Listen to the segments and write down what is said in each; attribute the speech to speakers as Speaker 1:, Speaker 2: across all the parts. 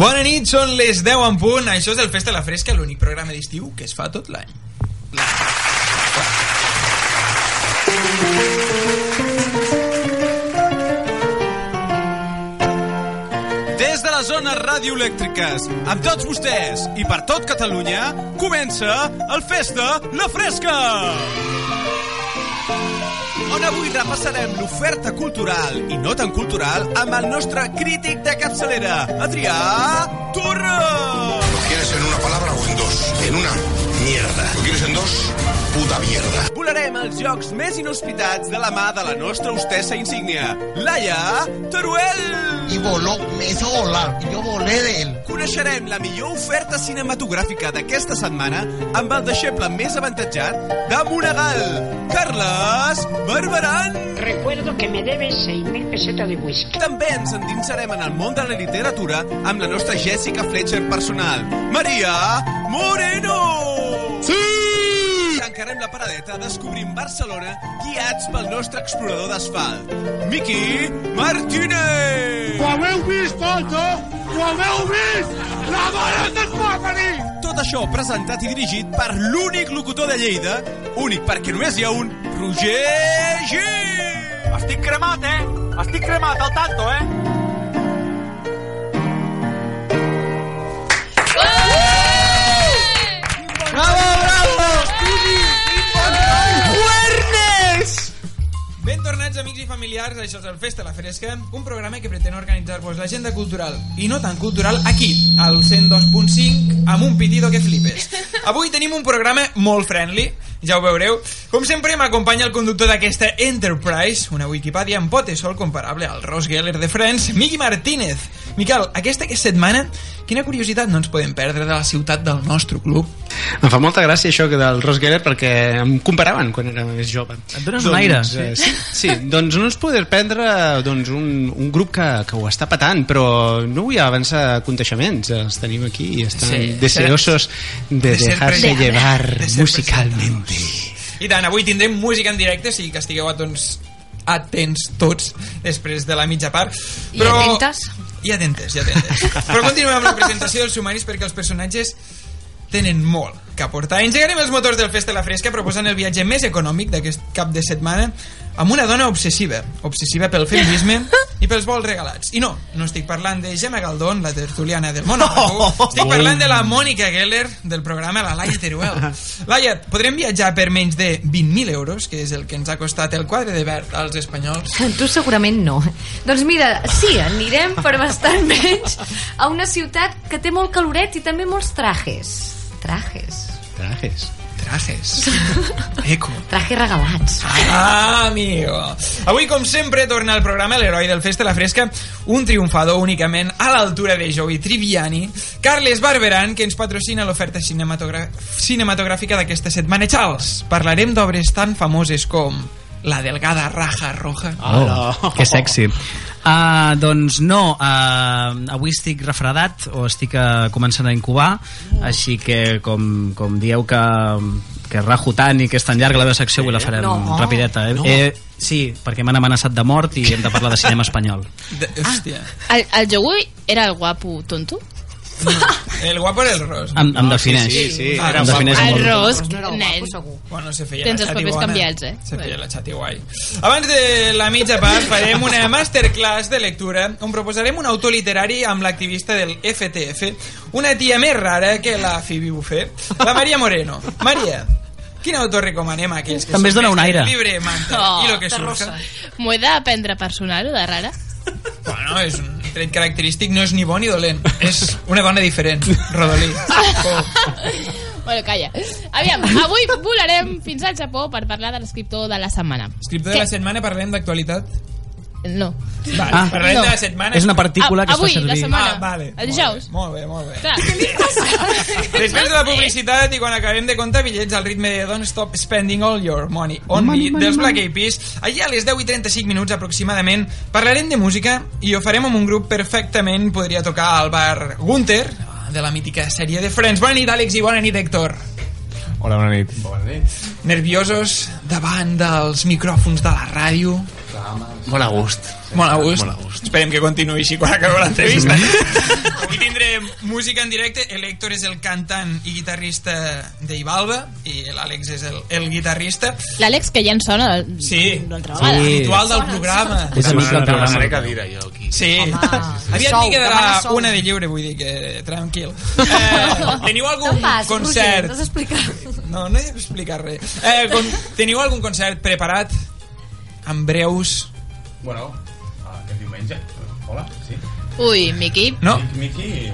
Speaker 1: Bona nit, són les 10 en punt. Això és el Festa a la Fresca, l'únic programa d'estiu que es fa tot l'any.
Speaker 2: Des de les zones radioelèctriques, amb tots vostès i per tot Catalunya, comença el Festa La Fresca! On avui repassarem l'oferta cultural i no tan cultural amb el nostre crític de capçalera, Adrià Torra!
Speaker 3: ¿Lo quieres en una palabra o en dos? En una mierda. ¿Lo quieres en dos? Puta mierda.
Speaker 2: Volarem els jocs més inhospitats de la mà de la nostra hostessa insígnia, Laia Teruel!
Speaker 4: y voló, me hizo volar. Y yo volé de él.
Speaker 2: Coneixerem la millor oferta cinematogràfica d'aquesta setmana amb el deixeble més avantatjat de Monegal, Carles Barberan.
Speaker 5: Recuerdo que me debes 6.000 pesetas de whisky.
Speaker 2: També ens endinsarem en el món de la literatura amb la nostra Jessica Fletcher personal, Maria Moreno! Sí! Tancarem la paradeta descobrint Barcelona guiats pel nostre explorador d'asfalt, Miqui Martínez! Tot això presentat i dirigit per l'únic locutor de Lleida, únic perquè només hi ha un, Roger G. Estic cremat, eh? Estic cremat, al tanto, eh? Bravo, bravo! Juernes!
Speaker 1: Ben tornats, amics i familiars, això és el Festa a la Fresca, un programa que pretén organitzar-vos l'agenda cultural i no tan cultural aquí, al 102.5, amb un pitido que flipes. Avui tenim un programa molt friendly, ja ho veureu. Com sempre, m'acompanya el conductor d'aquesta Enterprise, una Wikipedia amb potes sol comparable al Ross Geller de Friends, Miqui Martínez. Miquel, aquesta setmana, quina curiositat no ens podem perdre de la ciutat del nostre club?
Speaker 6: Em fa molta gràcia això que del Ross Geller perquè em comparaven quan era més jove.
Speaker 7: Et dones un aire, sí.
Speaker 6: eh, sí, sí, doncs no ens poder prendre doncs, un, un grup que, que ho està patant, però no vull avançar aconteixements. Els tenim aquí i estan
Speaker 1: Sí.
Speaker 6: sí. deseosos de,
Speaker 1: De ser
Speaker 6: dejar-se
Speaker 1: presentados.
Speaker 6: llevar
Speaker 1: De ser
Speaker 6: musicalmente.
Speaker 1: I tant, avui tindrem música en directe, sí que estigueu atents, atents tots després de la mitja part.
Speaker 8: I atentes.
Speaker 1: I atentes, i atentes. Però continuem amb la presentació dels sumaris perquè els personatges tenen molt que aportar. Engegarem els motors del Festa a la Fresca proposant el viatge més econòmic d'aquest cap de setmana amb una dona obsessiva, obsessiva pel feminisme i pels vols regalats. I no, no estic parlant de Gemma Galdón, la tertuliana del Monaco, estic parlant de la Mònica Geller del programa La Laia Teruel. Laia, podrem viatjar per menys de 20.000 euros, que és el que ens ha costat el quadre de verd als espanyols,
Speaker 8: Tu segurament no. Doncs mira, sí, anirem per bastant menys a una ciutat que té molt caloret i també molts trajes. Trajes.
Speaker 6: Trajes.
Speaker 1: Trajes. Eh, Eco.
Speaker 8: Trajes regalats.
Speaker 1: Ah, amigo. Avui, com sempre, torna al programa l'heroi del Festa la Fresca, un triomfador únicament a l'altura de Joey Triviani, Carles Barberan, que ens patrocina l'oferta cinematogra- cinematogràfica d'aquesta setmana. Charles, parlarem d'obres tan famoses com La delgada raja roja.
Speaker 7: Oh, que sexy. Uh, doncs no, uh, avui estic refredat o estic uh, començant a incubar, així que com, com dieu que, que rajo tant i que és tan llarga la meva secció, avui la farem
Speaker 8: No.
Speaker 7: rapideta. Eh? No. Eh, sí, perquè m'han amenaçat de mort i hem de parlar de cinema espanyol.
Speaker 1: De,
Speaker 7: Ah.
Speaker 1: hòstia.
Speaker 9: El, el Jogu era el guapo tonto?
Speaker 1: El guapo era el ros.
Speaker 7: Em, em defineix.
Speaker 6: Sí, sí,
Speaker 1: Ah,
Speaker 6: era
Speaker 7: Em
Speaker 6: guapo.
Speaker 7: defineix
Speaker 9: el
Speaker 7: molt.
Speaker 9: Rosc,
Speaker 8: No era el
Speaker 9: nen.
Speaker 8: guapo, segur.
Speaker 1: Bueno, se feia
Speaker 9: Tens
Speaker 1: la
Speaker 9: els
Speaker 1: xati
Speaker 9: papers
Speaker 1: bona.
Speaker 9: canviats, eh?
Speaker 1: Se feia
Speaker 9: Bueno.
Speaker 1: la xati guai. Abans de la mitja part farem una masterclass de lectura on proposarem un autor literari amb l'activista del FTF, una tia més rara que la Phoebe Buffet, la Maria Moreno. Maria, quin autor recomanem a aquells que
Speaker 7: També es
Speaker 1: són
Speaker 7: dona
Speaker 1: més
Speaker 7: un
Speaker 1: del
Speaker 7: aire.
Speaker 1: Llibre, manta
Speaker 9: Oh,
Speaker 1: i lo que
Speaker 8: de
Speaker 1: surja.
Speaker 8: rosa.
Speaker 9: M'ho he d'aprendre personal, o de rara?
Speaker 1: Bueno, és un tret característic, no és ni bon ni dolent. És una dona diferent, Rodolí. Oh.
Speaker 9: bueno, calla. Aviam, avui volarem fins al Japó per parlar de l'escriptor de la setmana.
Speaker 1: Escriptor de la setmana, parlem d'actualitat.
Speaker 9: No.
Speaker 1: Vale,
Speaker 7: Ah,
Speaker 1: parlem
Speaker 9: no.
Speaker 1: de la setmana.
Speaker 7: És una partícula
Speaker 9: Ah,
Speaker 7: que es fa
Speaker 9: avui, la
Speaker 7: servir.
Speaker 9: setmana.
Speaker 1: Ah, vale.
Speaker 9: El dijous.
Speaker 1: Molt bé, molt bé. Molt bé.
Speaker 9: Clar. Què li passa?
Speaker 1: Després de la publicitat i quan acabem de comptar bitllets al ritme de Don't Stop Spending All Your Money on Me dels Black Eyed Peas, allà a les 10 i 35 minuts aproximadament parlarem de música i ho farem amb un grup perfectament podria tocar al bar Gunter de la mítica sèrie de Friends. Bona nit, Àlex, i bona nit, Héctor.
Speaker 10: Hola, bona nit. Bona nit.
Speaker 1: Nerviosos davant dels micròfons de la ràdio.
Speaker 6: Molt a gust.
Speaker 1: Molt a gust. Molt a gust. Esperem que continuï així quan acabi l'entrevista. Avui tindré música en directe, el Héctor és el cantant i guitarrista d'Ibalba i l'Àlex és el, el guitarrista.
Speaker 9: L'Àlex, que ja en sona
Speaker 1: Sí,
Speaker 9: d'altra
Speaker 1: sí.
Speaker 9: vegada.
Speaker 1: habitual del programa.
Speaker 10: És amic del programa.
Speaker 1: Demanaré
Speaker 10: cadira, jo, aquí.
Speaker 1: Sí.
Speaker 10: Home,
Speaker 1: Aviat
Speaker 10: sou,
Speaker 1: n'hi quedarà
Speaker 10: demana sou.
Speaker 1: una de lliure, vull dir que tranquil. Eh, teniu algun concert?
Speaker 8: Roger, t'has d'explicar.
Speaker 1: No, no he d'explicar res. Eh, con... Teniu algun concert preparat? En breus?
Speaker 10: Bueno, aquest diumenge. Hola, sí.
Speaker 9: Ui, Miqui.
Speaker 1: No?
Speaker 10: Miqui...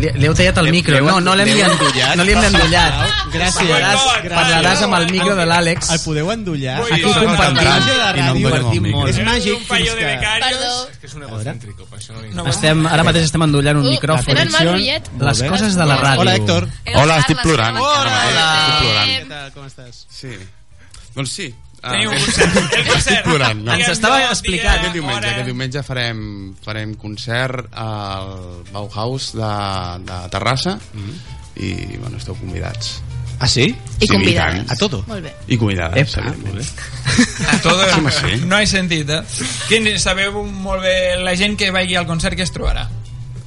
Speaker 7: Li, li heu tallat el micro.
Speaker 10: l'heu-
Speaker 7: No, no l'hem
Speaker 10: l'heu
Speaker 7: endollat.
Speaker 10: endollat?
Speaker 7: No l'hem endollat.
Speaker 6: Gràcies.
Speaker 7: Parlaràs,
Speaker 6: Gràcies.
Speaker 7: parlaràs amb el micro de l'Àlex.
Speaker 6: El podeu endollar?
Speaker 7: Vull Aquí dir, compartim. la màgia de la ràdio. Compartim molt.
Speaker 6: És
Speaker 7: Eres un
Speaker 6: màgic fins
Speaker 7: paio de
Speaker 6: que...
Speaker 7: becari.
Speaker 9: Perdó.
Speaker 10: És que és un egocèntrico, per això no li...
Speaker 7: Estem, ara mateix estem endollant un micròfon.
Speaker 9: tenen mal rotllet.
Speaker 7: Les coses de la ràdio.
Speaker 6: Hola, Héctor.
Speaker 11: Hola, estic plorant.
Speaker 6: Hola.
Speaker 11: Estic
Speaker 12: Eh,
Speaker 6: Què
Speaker 11: plorant.
Speaker 6: tal, com estàs?
Speaker 11: Sí. Doncs sí. Ah,
Speaker 1: Teniu un concert. El concert.
Speaker 11: Estic plorant. No?
Speaker 1: Ens estava Diguem lloc, explicant.
Speaker 11: Aquest diumenge,
Speaker 1: hora.
Speaker 11: aquest diumenge farem, farem concert al Bauhaus de, de Terrassa i bueno, esteu convidats.
Speaker 6: Ah, sí?
Speaker 11: I Sí, convidades. i tant.
Speaker 6: A todo.
Speaker 11: Molt
Speaker 9: bé.
Speaker 11: I convidades, evidentment.
Speaker 1: A todo
Speaker 11: Sí, home, sí.
Speaker 1: no he sentit, eh? Quin, sabeu molt bé la gent que vagi al concert que es trobarà.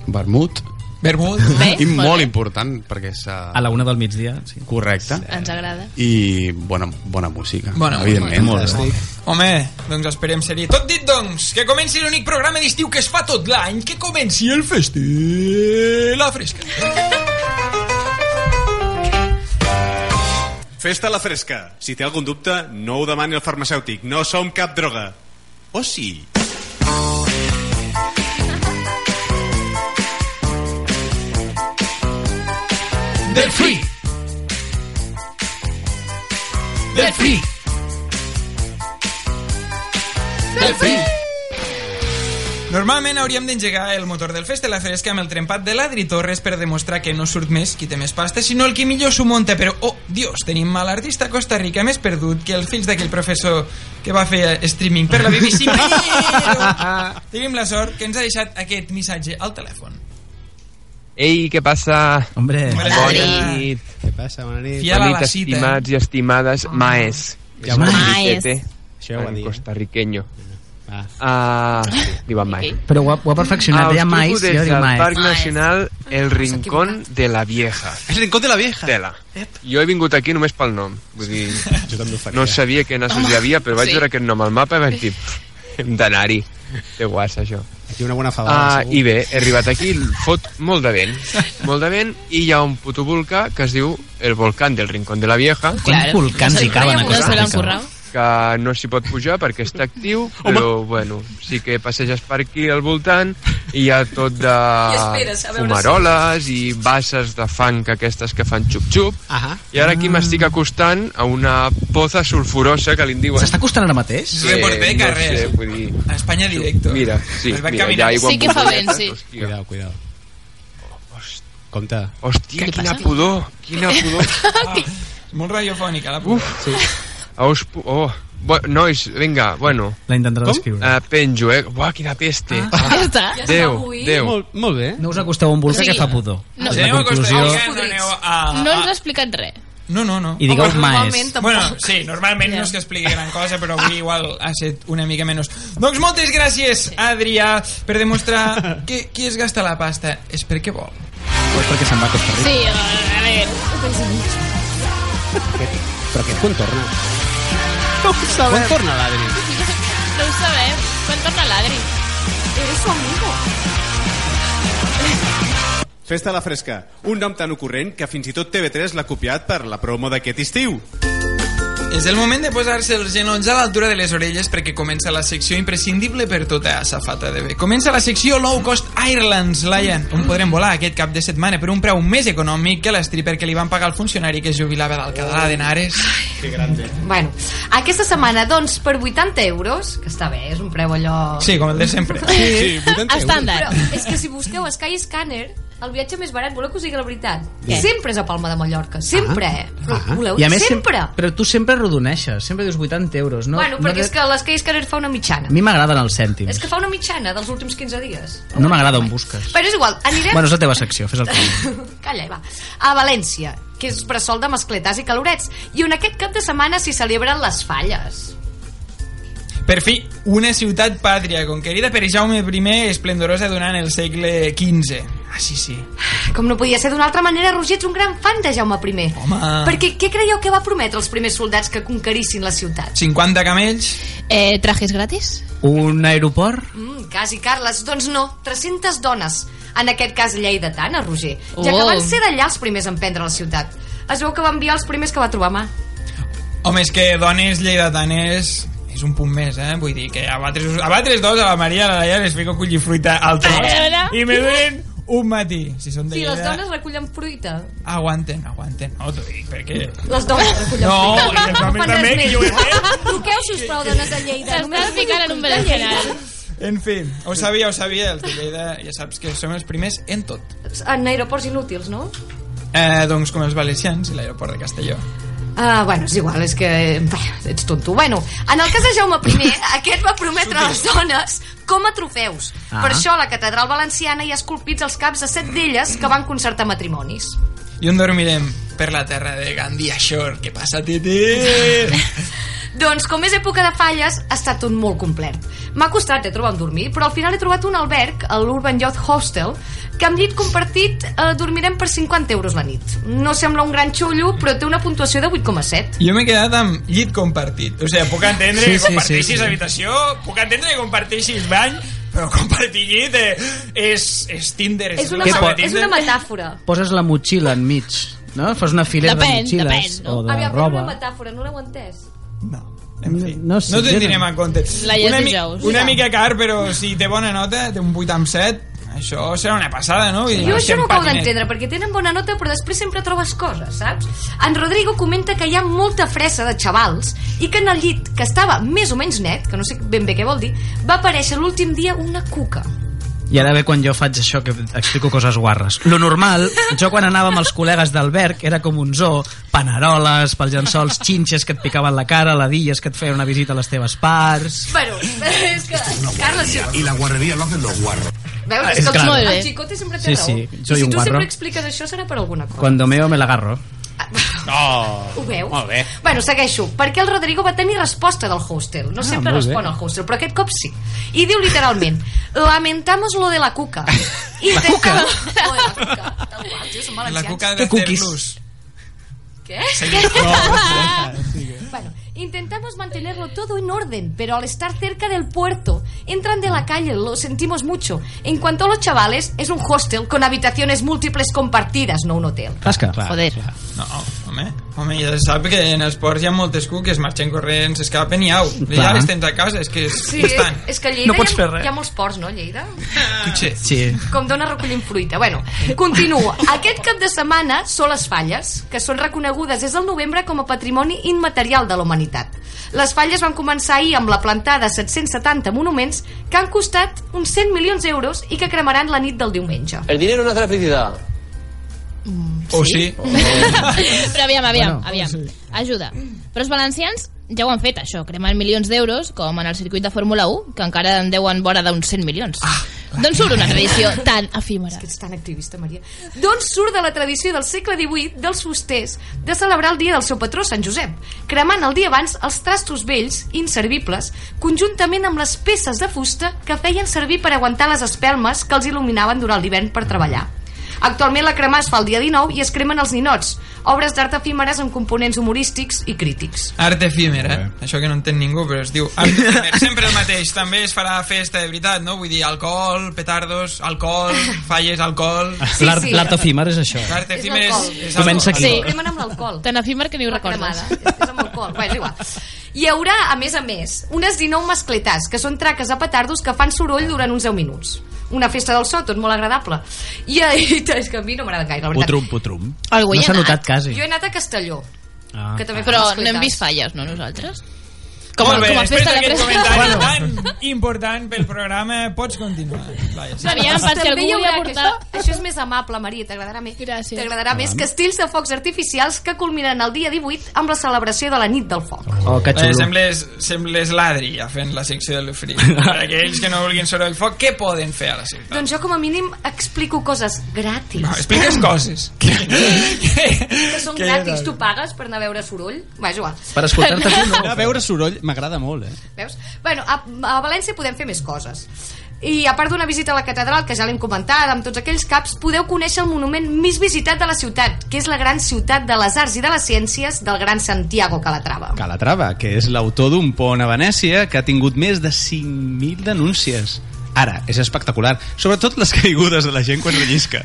Speaker 11: Vermut.
Speaker 1: Vermut.
Speaker 11: I molt important, perquè és... A
Speaker 7: la una del migdia, sí.
Speaker 11: Correcte.
Speaker 9: Ens agrada.
Speaker 11: I bona, bona música,
Speaker 1: Bona
Speaker 11: evidentment.
Speaker 1: música. Home, doncs esperem ser-hi. Tot dit, doncs, que comenci l'únic programa d'estiu que es fa tot l'any, que comenci el festi... La fresca.
Speaker 2: Festa a la fresca. Si té algun dubte, no ho demani al farmacèutic. No som cap droga. O sí?
Speaker 1: Del free.
Speaker 4: Del free. Del free.
Speaker 1: Normalment hauríem d'engegar el motor del Fest de la Fresca amb el trempat de l'Adri Torres per demostrar que no surt més qui té més pasta, sinó el qui millor s'ho munta, però, oh, dios, tenim mal artista a Costa Rica més perdut que els fills d'aquell professor que va fer streaming per la BBC. Però tenim la sort que ens ha deixat aquest missatge al telèfon.
Speaker 13: Ei, què passa?
Speaker 7: Hombre,
Speaker 1: Hola,
Speaker 13: bona
Speaker 1: Adri.
Speaker 13: nit.
Speaker 6: Què passa? Bona nit.
Speaker 13: Bona nit,
Speaker 1: eh?
Speaker 13: estimats i
Speaker 1: Ah.
Speaker 13: estimades maes.
Speaker 6: Ja ho has dit.
Speaker 13: Maes.
Speaker 6: Això ja ho ha dit. eh?
Speaker 13: Costarriqueño. Ah, diuen mai.
Speaker 7: Però ho ha, ho ha perfeccionat.
Speaker 13: Ah,
Speaker 7: Ja
Speaker 13: us
Speaker 7: mai,
Speaker 13: truco
Speaker 7: ja
Speaker 13: des
Speaker 7: diu
Speaker 13: del
Speaker 7: mai.
Speaker 13: Parc Nacional El Rincón de la Vieja.
Speaker 6: El Rincón de la Vieja?
Speaker 13: Tela. Jo he vingut aquí només pel nom. Vull dir,
Speaker 6: jo també ho faria.
Speaker 13: no sabia que nassos hi havia, però vaig
Speaker 6: sí.
Speaker 13: veure aquest nom al mapa i vaig dir, "Pff, hem d'anar-hi. Que guas, això.
Speaker 6: Aquí una bona fabada,
Speaker 13: Ah,
Speaker 6: segur.
Speaker 13: I bé, he arribat aquí, fot molt de vent, molt de vent, i hi ha un puto volcà que es diu el volcán del Rincón de la Vieja.
Speaker 7: Quants volcans hi caben a Costa Rica?
Speaker 13: que no s'hi pot pujar perquè està actiu, però bueno, sí que passeges per aquí al voltant i hi ha tot de
Speaker 14: I esperes a veure
Speaker 13: fumaroles i basses de fang aquestes que fan xup-xup.
Speaker 6: Ahà.
Speaker 13: I ara aquí m'estic acostant a una poza sulfurosa que li en diuen...
Speaker 7: S'està acostant ara
Speaker 6: eh?
Speaker 7: mateix?
Speaker 13: Sí,
Speaker 1: Report B,
Speaker 13: no
Speaker 1: carrer.
Speaker 13: sé, vull dir...
Speaker 1: A Espanya directo.
Speaker 13: Mira, sí,
Speaker 1: Es va
Speaker 13: mira, hi
Speaker 1: caminar.
Speaker 13: ha aigua
Speaker 1: Sí que
Speaker 13: amb
Speaker 1: fa vent,
Speaker 13: bombolletes,
Speaker 1: sí.
Speaker 13: hòstia.
Speaker 6: Cuidao, cuidao. Compte.
Speaker 13: Hòstia,
Speaker 1: Què
Speaker 13: quina
Speaker 1: passa?
Speaker 13: pudor, quina pudor.
Speaker 1: Ah, Molt radiofònica, la puta. Uf,
Speaker 13: sí. Aus, oh, bo, nois, vinga, bueno.
Speaker 7: La intentarà
Speaker 13: Com?
Speaker 7: descriure.
Speaker 13: Uh, penjo, eh? Buah, quina peste. Ah.
Speaker 9: Ja està.
Speaker 13: Déu, Déu.
Speaker 6: Molt, molt bé.
Speaker 7: No us acosteu a un volcà
Speaker 9: O sigui,
Speaker 7: que fa pudor.
Speaker 9: no.
Speaker 7: És
Speaker 9: Si
Speaker 7: la
Speaker 1: aneu a Costa
Speaker 7: conclusió...
Speaker 1: Rica, no aneu a-
Speaker 9: No ens ha explicat res.
Speaker 1: No, no, no.
Speaker 7: I digueu Home, maes. normalment tampoc.
Speaker 1: Bueno, sí, normalment no és que expliqui gran cosa, però avui igual ha set una mica menys. Doncs moltes gràcies, Adrià, per demostrar que qui es gasta la pasta és perquè vol.
Speaker 6: Pues perquè se'n va a Costa
Speaker 9: Sí, a veure.
Speaker 6: Però aquest contorna. No ho
Speaker 9: sabem.
Speaker 6: Contorna l'Adri.
Speaker 9: No ho sabem. Quan torna l'Adri? Eres su amigo.
Speaker 2: Festa a la fresca. Un nom tan ocorrent que fins i tot TV3 l'ha copiat per la promo d'aquest estiu.
Speaker 1: És el moment de posar-se els genolls a l'altura de les orelles perquè comença la secció imprescindible per tota safata de bé. Comença la secció Low Cost Airlines, Laia, on podrem volar aquest cap de setmana per un preu més econòmic que l'estriper que li van pagar el funcionari que es jubilava d'Alcalà de Henares.
Speaker 10: Que grande.
Speaker 8: Bueno, aquesta setmana, doncs, per 80 euros, que està bé, és un preu allò...
Speaker 1: Sí, com el de sempre.
Speaker 10: Sí, 80
Speaker 9: Estàndard.
Speaker 8: Però és que si busqueu Sky Scanner, el viatge més barat, voleu que us digui la veritat?
Speaker 7: Què? Ah.
Speaker 8: Sempre és a Palma de Mallorca, sempre, eh? Però voleu
Speaker 7: I a més,
Speaker 8: sempre.
Speaker 7: sempre. Però tu sempre rodoneixes, sempre dius 80 euros. No,
Speaker 8: bueno,
Speaker 7: no
Speaker 8: perquè
Speaker 7: de-
Speaker 8: és que l'Sky Scanner fa una mitjana.
Speaker 7: A mi m'agraden els cèntims.
Speaker 8: És que fa una mitjana dels últims 15 dies.
Speaker 7: No m'agrada on busques.
Speaker 8: Però és igual, anirem...
Speaker 7: Bueno, és la teva secció, fes el que vulguis.
Speaker 8: Calla, i va. A València, que és bressol de mascletàs i calorets, i on aquest cap de setmana s'hi celebren les falles.
Speaker 1: Per fi, una ciutat pàtria conquerida per Jaume I esplendorosa durant el segle XV. Ah, sí, sí.
Speaker 8: Com no podia ser d'una altra manera, Roger, ets un gran fan de Jaume I.
Speaker 1: Home.
Speaker 8: Perquè què creieu que va prometre els primers soldats que conquerissin la ciutat?
Speaker 1: 50 camells.
Speaker 9: Eh, trajes gratis?
Speaker 7: Un aeroport?
Speaker 8: Mm, quasi, Carles. Doncs no, 300 dones. En aquest cas, lleidatana, Roger. Ja
Speaker 1: Oh.
Speaker 8: que van ser d'allà els primers a emprendre la ciutat. Es veu que va enviar els primers que va trobar a mà.
Speaker 1: Home, és que dones lleidatanes és un punt més, eh? Vull dir que a batres, a batres dos, a la Maria, a la Laia, les fico collir fruita
Speaker 8: Ara.
Speaker 1: al tros i me duren un matí. Si són de
Speaker 8: Sí, les
Speaker 1: Lleida,
Speaker 8: dones recullen fruita.
Speaker 1: Aguanten, aguanten. No, t'ho dic, perquè...
Speaker 8: Les dones recullen
Speaker 1: No,
Speaker 8: fruita.
Speaker 1: les dones
Speaker 8: fan res
Speaker 1: també,
Speaker 8: més.
Speaker 1: que ho he
Speaker 14: Truqueu, sisplau, dones de Lleida.
Speaker 9: S'està ficant en un berenjenal.
Speaker 1: En fi, ho sabia, ho sabia, els de Lleida ja saps que som els primers en tot.
Speaker 8: En aeroports inútils, no?
Speaker 1: Eh, doncs com els valencians i l'aeroport de Castelló.
Speaker 8: Ah, bueno, és igual, és que bé, ets tonto. Bueno, en el cas de Jaume I, aquest va prometre a les dones com a trofeus.
Speaker 1: Ah.
Speaker 8: Per això a la catedral valenciana hi ha esculpits els caps de set d'elles que van concertar matrimonis.
Speaker 1: I on dormirem? Per la terra de Gandia Shore. Què passa, Titi?
Speaker 8: Doncs, com és època de falles, ha estat tot molt complet. M'ha costat de trobar on dormir, però al final he trobat un alberg, a l'Urban Youth Hostel, que amb llit compartit eh, dormirem per 50 euros la nit. No sembla un gran xullo, però té una puntuació de 8,7.
Speaker 1: Jo m'he quedat amb llit compartit. O sigui, puc entendre
Speaker 7: Sí,
Speaker 1: sí, que
Speaker 7: sí,
Speaker 1: comparteixis
Speaker 7: sí, sí.
Speaker 1: habitació, puc entendre que comparteixis bany, però compartir llit eh, és, és Tinder. És,
Speaker 8: És una,
Speaker 7: Què
Speaker 8: ma-
Speaker 7: pot-
Speaker 8: és una metàfora.
Speaker 7: Poses la motxilla enmig, no? Fas una filera de
Speaker 8: Depèn,
Speaker 7: motxilles
Speaker 8: depèn, no?
Speaker 7: o de
Speaker 8: Aviam, però
Speaker 7: roba.
Speaker 8: una metàfora, no l'heu entès?
Speaker 7: No, sé,
Speaker 1: No
Speaker 7: jo
Speaker 1: te'n tindrem en compte.
Speaker 8: La llet
Speaker 1: una, mi-
Speaker 8: dijous.
Speaker 1: una
Speaker 8: Ja.
Speaker 1: mica car, però si té bona nota, té un 8 amb 7, això serà una passada, no? Vull dir,
Speaker 8: Jo això
Speaker 1: marxem
Speaker 8: no ho acabo
Speaker 1: patinet.
Speaker 8: d'entendre, perquè tenen bona nota però després sempre trobes coses, saps? En Rodrigo comenta que hi ha molta fressa de xavals i que en el llit, que estava més o menys net, que no sé ben bé què vol dir, va aparèixer l'últim dia una cuca.
Speaker 7: I ara ve quan jo faig això que explico coses guarres. Lo normal, jo quan anava amb els col·legues d'alberg era com un zoo, paneroles, pels llençols, xinxes que et picaven la cara, ladilles que et feien una visita a les teves parts...
Speaker 8: Bueno, és que... Carles, si...
Speaker 3: Y la guarrería lo hacen los guarros.
Speaker 8: Veus,
Speaker 7: Ah,
Speaker 8: és
Speaker 7: és
Speaker 8: que el,
Speaker 7: clar.
Speaker 8: xicot-
Speaker 7: Molt bé.
Speaker 8: el Xicote sempre té
Speaker 7: Sí,
Speaker 8: raó.
Speaker 7: sí,
Speaker 8: I
Speaker 7: soy
Speaker 8: si
Speaker 7: un
Speaker 8: tu
Speaker 7: guarro.
Speaker 8: sempre expliques això serà per alguna cosa.
Speaker 7: Cuando meo me l'agarro. Oh.
Speaker 8: Ah. Ho veus?
Speaker 7: Molt bé.
Speaker 8: Bueno, segueixo. Perquè el Rodrigo va tenir resposta del hostel. No
Speaker 7: Ah,
Speaker 8: sempre
Speaker 7: molt bé.
Speaker 8: respon al hostel, però aquest cop sí. I diu literalment, lamentamos lo de la cuca. Ah, I la cuca? Lo de la cuca. Tal qual, tio, són valencians.
Speaker 1: La cuca de Terlús.
Speaker 8: Què?
Speaker 1: Sí.
Speaker 8: Què?
Speaker 1: No.
Speaker 8: bueno, intentamos mantenerlo todo en orden, pero al estar cerca del puerto, entran de la calle, lo sentimos mucho. En cuanto a los chavales, es un hostel con habitaciones múltiples compartidas, no un hotel.
Speaker 7: Tasca.
Speaker 8: Joder.
Speaker 1: No, home, home, ja se sap que en els ports hi ha moltes cuques, marxen corrents, s'escapen i au. Ja
Speaker 7: Clar.
Speaker 1: les tens a casa, és que és
Speaker 8: Sí,
Speaker 1: constant.
Speaker 8: és que a Lleida
Speaker 1: No pots
Speaker 8: hi,
Speaker 1: fer
Speaker 8: ha,
Speaker 1: res.
Speaker 8: hi ha molts ports, no, a Lleida?
Speaker 1: Potser.
Speaker 7: Sí.
Speaker 8: Com dona recollint fruita. Bueno, continuo. Aquest cap de setmana són les falles, que són reconegudes des del novembre com a patrimoni immaterial de la humanitat. Les falles van començar ahir amb la plantada de 770 monuments que han costat uns 100 milions d'euros i que cremaran la nit del diumenge.
Speaker 15: El dinero no hace la felicidad. Oh.
Speaker 1: O Oh, sí.
Speaker 9: Però aviam, aviam,
Speaker 15: Bueno,
Speaker 9: aviam. Ajuda. Però els valencians ja ho han fet, això. Cremen milions d'euros, com en el circuit de Fórmula 1, que encara en deuen vora d'uns 100 milions.
Speaker 15: Ah.
Speaker 9: D'on Doncs surt una tradició tan efímera? És
Speaker 8: que ets tan activista, Maria. D'on surt de la tradició del segle XVIII dels fusters de celebrar el dia del seu patró, Sant Josep, cremant el dia abans els trastos vells, inservibles, conjuntament amb les peces de fusta que feien servir per aguantar les espelmes que els il·luminaven durant l'hivern per treballar. Actualment la crema es fa el dia 19 i es cremen els ninots, obres d'art efímeres amb components humorístics i crítics.
Speaker 1: Art efímer, eh? Això que no entén ningú, però es diu art efímer. Sempre el mateix. També es farà festa de veritat, no? Vull dir, alcohol, petardos, alcohol, falles, alcohol...
Speaker 7: Ah, Sí, L'art- sí. l'art efímer és això.
Speaker 1: L'art efímer és... és
Speaker 7: Comença aquí.
Speaker 1: alcohol.
Speaker 7: Sí.
Speaker 8: cremen amb l'alcohol.
Speaker 9: Tan efímer que ni ho recordes.
Speaker 8: És, és amb alcohol. Bé, és igual. Hi haurà, a més a més, unes 19 mascletàs, que són traques a petardos que fan soroll durant uns 10 minuts. Una festa del so, tot molt agradable. I, eh, i és que a mi no m'agrada gaire, la veritat.
Speaker 7: Putrum, putrum.
Speaker 9: Algú hi
Speaker 7: no
Speaker 9: ha
Speaker 7: s'ha
Speaker 9: anat?
Speaker 7: notat quasi.
Speaker 8: Jo he anat a Castelló,
Speaker 7: Ah.
Speaker 8: que també fan
Speaker 9: Però no
Speaker 8: mascletàs.
Speaker 9: hem vist falles, no, nosaltres?
Speaker 1: Com,
Speaker 9: a-
Speaker 1: Molt bé,
Speaker 9: com a
Speaker 1: després
Speaker 9: festa de
Speaker 1: d'aquest
Speaker 9: pressa.
Speaker 1: comentari tan important pel programa, pots continuar. Vaja, sí.
Speaker 8: També hi haurà
Speaker 9: portar-
Speaker 8: aquesta- Això és més amable, Maria, t'agradarà més. Gràcies. T'agradarà més
Speaker 1: Endavant.
Speaker 8: castells de focs artificials que culminaran el dia 18 amb la celebració de la nit del foc.
Speaker 7: Oh, que xulo.
Speaker 1: Eh, sembles, sembles l'Adri ja fent la secció de l'Ufri. Per aquells que no vulguin soroll foc, què poden fer a la ciutat?
Speaker 8: Doncs jo com a mínim explico coses gratis.
Speaker 1: No, expliques coses.
Speaker 8: que són
Speaker 6: Que
Speaker 8: gràcies.
Speaker 6: era-
Speaker 8: Tu pagues per anar a veure soroll? Va, és igual.
Speaker 6: Per escoltar-te tu, no. Anar a veure soroll m'agrada molt, eh?
Speaker 8: Veus? Bueno, a, a València podem fer més coses. I a part d'una visita a la catedral, que ja l'hem comentat, amb tots aquells caps, podeu conèixer el monument més visitat de la ciutat, que és la gran ciutat de les arts i de les ciències del gran Santiago Calatrava.
Speaker 6: Calatrava, que és l'autor d'un pont a Venècia que ha tingut més de 5.000 denúncies. Ara, és espectacular. Sobretot les caigudes de la gent quan rellisca.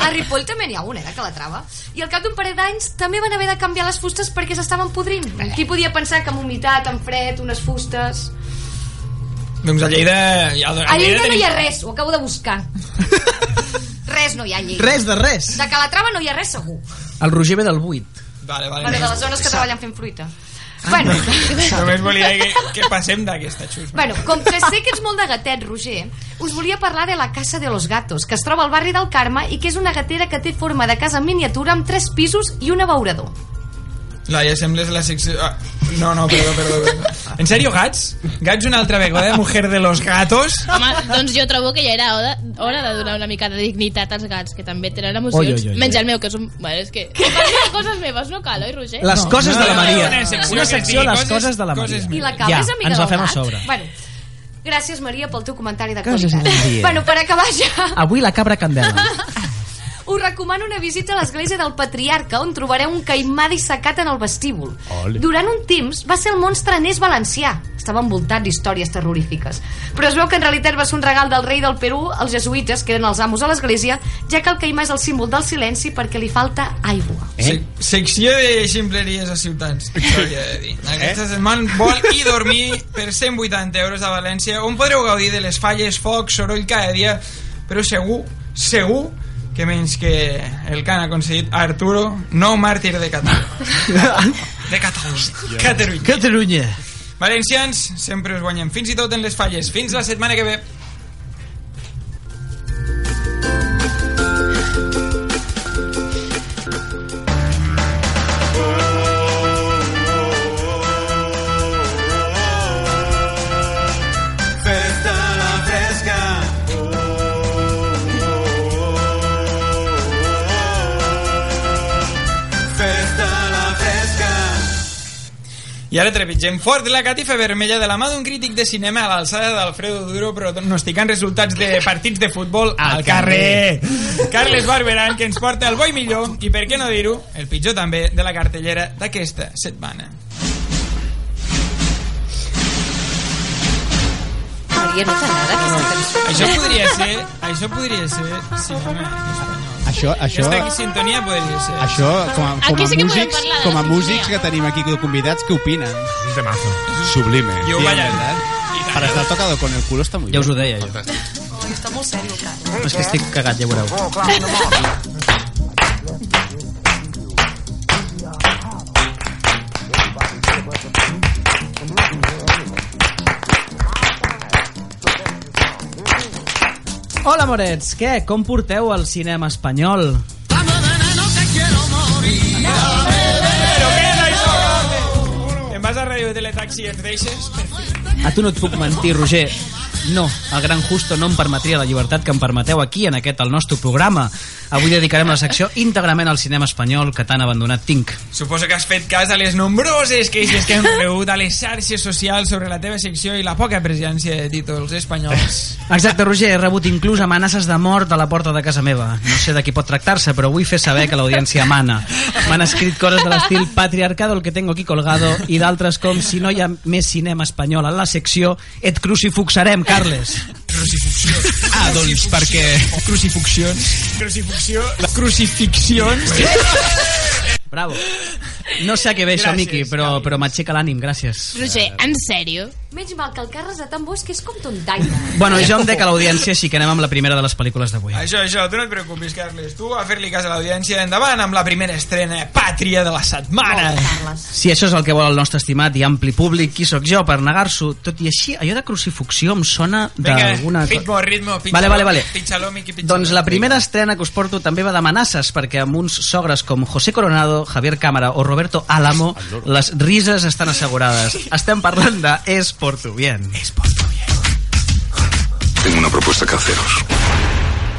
Speaker 8: A Ripoll també n'hi ha una, eh, de Calatrava. I al cap d'un parell d'anys també van haver de canviar les fustes perquè s'estaven podrint.
Speaker 6: Eh.
Speaker 8: Qui podia pensar que amb humitat, amb fred, unes fustes...
Speaker 1: Doncs a Lleida... Ja,
Speaker 8: A Lleida no hi ha res, ho acabo de buscar. Res no hi ha a Lleida.
Speaker 15: Res de res.
Speaker 8: De Calatrava no hi ha res segur.
Speaker 15: El Roger ve del 8.
Speaker 1: Vale, vale.
Speaker 8: Bueno, de les zones que treballen fent fruita.
Speaker 15: Ah,
Speaker 8: Bueno,
Speaker 1: Només volia dir que, que passem d'aquesta xusma.
Speaker 8: Bueno, com que sé que ets molt de gatet, Roger, us volia parlar de la Casa de los Gatos, que es troba al barri del Carme i que és una gatera que té forma de casa en miniatura amb tres pisos i un abeurador.
Speaker 1: La, ja sembles la secció... Ah, no, no, perdó, perdó, perdó. En sèrio, gats? Gats una altra vegada, mujer de los gatos?
Speaker 9: Home, doncs jo trobo que ja era hora, hora de donar una mica de dignitat als gats, que també tenen emocions.
Speaker 15: Oi, oi, oi, oi.
Speaker 9: Menys el meu, que és un... Bueno, és que... Les coses meves, no cal, oi, Roger?
Speaker 15: Les coses de la Maria.
Speaker 1: una secció
Speaker 15: Una
Speaker 1: que
Speaker 15: secció,
Speaker 1: digui
Speaker 15: les
Speaker 1: coses-
Speaker 15: coses de la
Speaker 1: coses
Speaker 15: Maria.
Speaker 8: I la cabra
Speaker 15: Ja,
Speaker 8: és amiga
Speaker 15: ens la
Speaker 8: del
Speaker 15: fem a
Speaker 8: gat.
Speaker 15: sobre.
Speaker 8: Bueno, gràcies, Maria, pel teu comentari de
Speaker 15: Gràcies,
Speaker 8: qualitat.
Speaker 15: Maria.
Speaker 8: Bueno, per acabar ja...
Speaker 15: Avui la cabra candela.
Speaker 8: Us recomano una visita a l'església del Patriarca, on trobareu un caimà dissecat en el vestíbul.
Speaker 15: Ole.
Speaker 8: Durant un temps va ser el monstre Anés Valencià. Estava envoltat d'històries terrorífiques. Però es veu que en realitat va ser un regal del rei del Perú als jesuïtes, que eren els amos a l'església, ja que el caimà és el símbol del silenci perquè li falta aigua.
Speaker 1: Eh? Se secció de ximpleries a ciutats. això hauria de dir. Aquesta setmana vol i dormir per 180 euros a València, on podreu gaudir de les falles, foc, soroll cada dia, però segur, segur que menys que el que han aconseguit Arturo, nou màrtir de Catalunya. De Catalunya. Catalunya.
Speaker 15: Catalunya.
Speaker 1: Valencians, sempre us guanyem, fins i tot en les falles. Fins la setmana que ve.
Speaker 2: Festa a la fresca. Festa a la fresca.
Speaker 1: I ara trepitgem fort la catifa vermella de la mà d'un crític de cinema a l'alçada d'Alfredo Duro pronosticant resultats de partits de futbol al carrer. Carles Barberan, que ens porta el bo i millor, i per què no dir-ho, el pitjor també, de la cartellera d'aquesta setmana.
Speaker 8: Maria, no t'agrada aquesta cançó?
Speaker 1: Això podria ser... Això podria ser... Cinema.
Speaker 6: Això, això,
Speaker 1: Aquesta aquí, sintonia podria ser.
Speaker 6: això com a, com
Speaker 1: Aquí
Speaker 6: a
Speaker 1: sí que podem
Speaker 6: músics,
Speaker 1: parlar de
Speaker 6: com a
Speaker 1: la
Speaker 6: músics que tenim aquí de convidats, què opinen?
Speaker 10: És de mazo.
Speaker 11: Sublime.
Speaker 1: Jo ho ballaré.
Speaker 2: Eh?
Speaker 6: Para estar tocado con el culo está muy
Speaker 7: Ja us ho deia jo.
Speaker 8: Està molt sèrio, Oh, Carles.
Speaker 7: És que estic cagat, ja veureu.
Speaker 15: Hola, morets. Què? Com porteu el cinema espanyol?
Speaker 1: Em vas a Radio Teletaxi i ens deixes?
Speaker 15: A tu no et puc mentir, Roger. No, el gran Justo no em permetria la llibertat que em permeteu aquí, en aquest, el nostre programa. Avui dedicarem la secció íntegrament al cinema espanyol que tan abandonat tinc.
Speaker 1: Suposo que has fet cas a les nombroses queixes que hem rebut a les xarxes socials sobre la teva secció i la poca presència de títols espanyols.
Speaker 15: Exacte, Roger, he rebut inclús amenaces de mort a la porta de casa meva. No sé de qui pot tractar-se, però vull fer saber que l'audiència mana. M'han escrit coses de l'estil patriarcado el que tengo aquí colgado i d'altres com si no hi ha més cinema espanyol en la secció et crucifuxarem, Carles.
Speaker 1: Crucifixions.
Speaker 15: Ah, doncs perquè...
Speaker 1: Crucifixions. Crucifixió. Crucifixions.
Speaker 15: Bravo. No sé a què ve això,
Speaker 9: Gràcies,
Speaker 15: Miqui, però, però m'aixeca l'ànim, gràcies.
Speaker 9: Roger, en sèrio?
Speaker 8: Menys mal que el Carles de tan bo és que és com tontaina.
Speaker 15: Bueno, jo em dec a l'audiència, així que anem amb la primera de les pel·lícules d'avui.
Speaker 1: Això, això, tu no et preocupis, Carles. Tu a fer-li cas a l'audiència. Endavant amb la primera estrena pàtria de la setmana.
Speaker 15: Si això és el que vol el nostre estimat i ampli públic, qui sóc jo per negar-s'ho? Tot i així, allò de crucifixió em sona d'alguna
Speaker 1: Vinga,
Speaker 15: cosa.
Speaker 1: ritmo, ritmo. Pitxalo,
Speaker 15: Vale, vale, vale.
Speaker 1: Pitxalo, Miqui, pitxalo.
Speaker 15: Doncs la primera estrena que us porto també va d'amenaces, perquè amb uns sogres com José Coronado, Javier Cámara o Roberto Álamo, les rises estan assegurades. Estem parlant de Es por tu bien.
Speaker 3: Tengo una propuesta que haceros.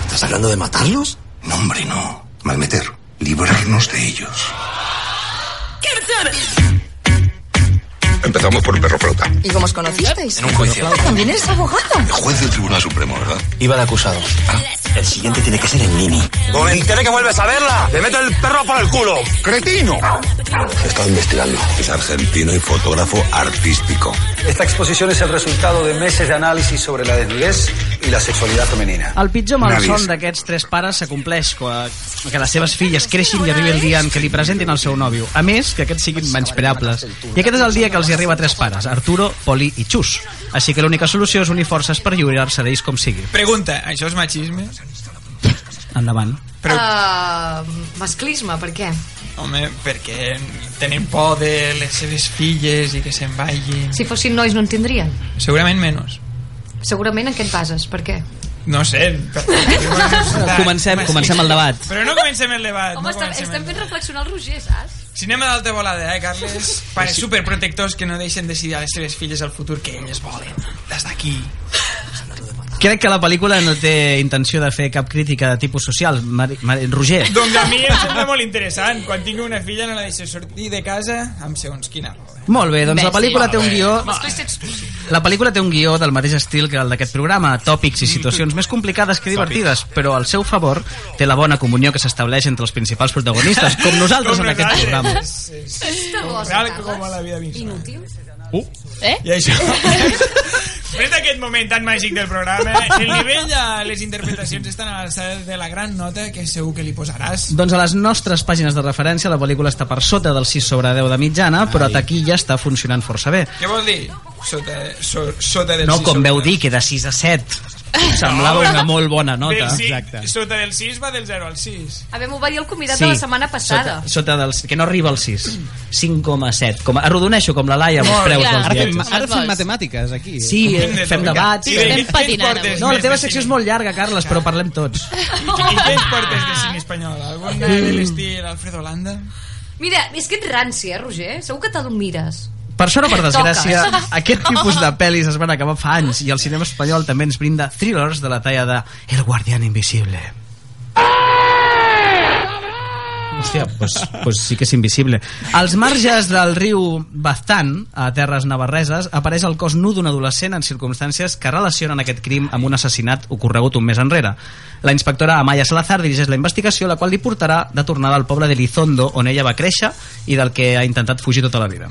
Speaker 3: ¿Estás hablando de matarlos? No, hombre, no. Malmeter. Librarnos de ellos. Empezamos por el perro flauta.
Speaker 16: ¿Y cómo os conocisteis?
Speaker 3: En un juicio.
Speaker 16: También eres abogado.
Speaker 3: Juez del Tribunal Supremo, ¿verdad? Ah.
Speaker 17: Iba de acusado. El siguiente tiene que ser el Nini.
Speaker 3: ¡O me entere que vuelves a verla! ¡Te meto el perro por el culo! ¡Cretino! He estado investigando. Es argentino y fotógrafo artístico.
Speaker 17: Esta exposición es el resultado de meses de análisis sobre la desnudez y la sexualidad femenina.
Speaker 15: El pitjor malson
Speaker 17: Nadie.
Speaker 15: d'aquests tres pares s'acompleix quan- que les seves filles creixin i arribi el dia en què li presentin al seu nòvio. A més, que aquests siguin menyspreables. I aquest és el dia que els hi arriba a tres pares, Arturo, Poli i Xus. Així que l'única solució és unir forces per lliurar-se d'ells com sigui.
Speaker 1: Pregunta, això és machisme?
Speaker 15: Endavant.
Speaker 1: Però-
Speaker 8: Uh, masclisme, per què?
Speaker 1: Home, perquè tenen por de les seves filles i que se'n vagin.
Speaker 8: Si fossin nois no en tindrien.
Speaker 1: Segurament menys.
Speaker 8: Segurament en què et bases, per què?
Speaker 1: No sé. Per...
Speaker 15: Comencem, comencem el debat.
Speaker 1: Però no comencem el debat.
Speaker 8: Home,
Speaker 1: no
Speaker 8: estem,
Speaker 1: comencem
Speaker 8: estem fent reflexionar el Roger, saps?
Speaker 1: Cinema d'alta volada, eh, Carles? Pares superprotectors que no deixen decidir a les seves filles el futur que elles volen. Des d'aquí.
Speaker 15: Crec que la pel·lícula no té intenció de fer cap crítica de tipus social. Mari, Mari, Roger,
Speaker 1: Doncs a mi em sembla molt interessant. Quan tingui una filla no la deixo sortir de casa amb segons quina eh. roba.
Speaker 15: molt bé, doncs la pel·lícula té un guió...
Speaker 1: Després t'ets tu.
Speaker 15: La pel·lícula té un guió del mateix estil que el d'aquest programa, tòpics i situacions més complicades que divertides, però al seu favor té la bona comunió que s'estableix entre els principals protagonistes, com nosaltres en aquest programa.
Speaker 1: Real que com a la vida misma. Inútil.
Speaker 15: Uh.
Speaker 9: Eh?
Speaker 1: I això... Després d'aquest moment tan màgic del programa, el nivell de les interpretacions estan a l'alçada de la gran nota que segur que li posaràs.
Speaker 15: Doncs a les nostres pàgines de referència la pel·lícula està per sota del 6 sobre 10 de mitjana, però a taquilla està funcionant força bé.
Speaker 1: Què vol dir? Sota, so, sota del
Speaker 15: No,
Speaker 1: sis
Speaker 15: com
Speaker 1: sobre-
Speaker 15: veu dir, que de 6 a 7. Semblava una molt bona nota.
Speaker 1: Del sis- Sota del 6 va del 0 al 6.
Speaker 8: A veure, m'ho va dir el convidat sí. de la setmana passada.
Speaker 15: Sota, sota del, que no arriba al 6. 5,7. Com, arrodoneixo com la Laia amb els
Speaker 6: Molt
Speaker 15: preus
Speaker 6: clar.
Speaker 15: dels
Speaker 6: Ara fem-
Speaker 15: viatges.
Speaker 6: ara fem matemàtiques, aquí.
Speaker 15: Sí, eh, fem debats. eh. No, la teva secció és molt llarga, Carles, però parlem tots.
Speaker 1: I què ens portes de cine espanyol? Algun de
Speaker 15: Mm.
Speaker 1: de l'estil Alfredo Landa?
Speaker 8: Mira, és que ets ranci, eh, Roger? Segur que te lo mires.
Speaker 15: Per sort o per desgràcia,
Speaker 8: Toques.
Speaker 15: aquest tipus de pel·lis es van acabar fa anys i el cinema espanyol també ens brinda thrillers de la talla de El guardián invisible. Hòstia, pues, pues sí que és invisible. Als marges del riu Baztán, a terres navarreses, apareix el cos nu d'un adolescent en circumstàncies que relacionen aquest crim amb un assassinat ocorregut un mes enrere. La inspectora Amaya Salazar dirigeix la investigació, la qual li portarà de tornada al poble de Lizondo, on ella va créixer i del que ha intentat fugir tota la vida.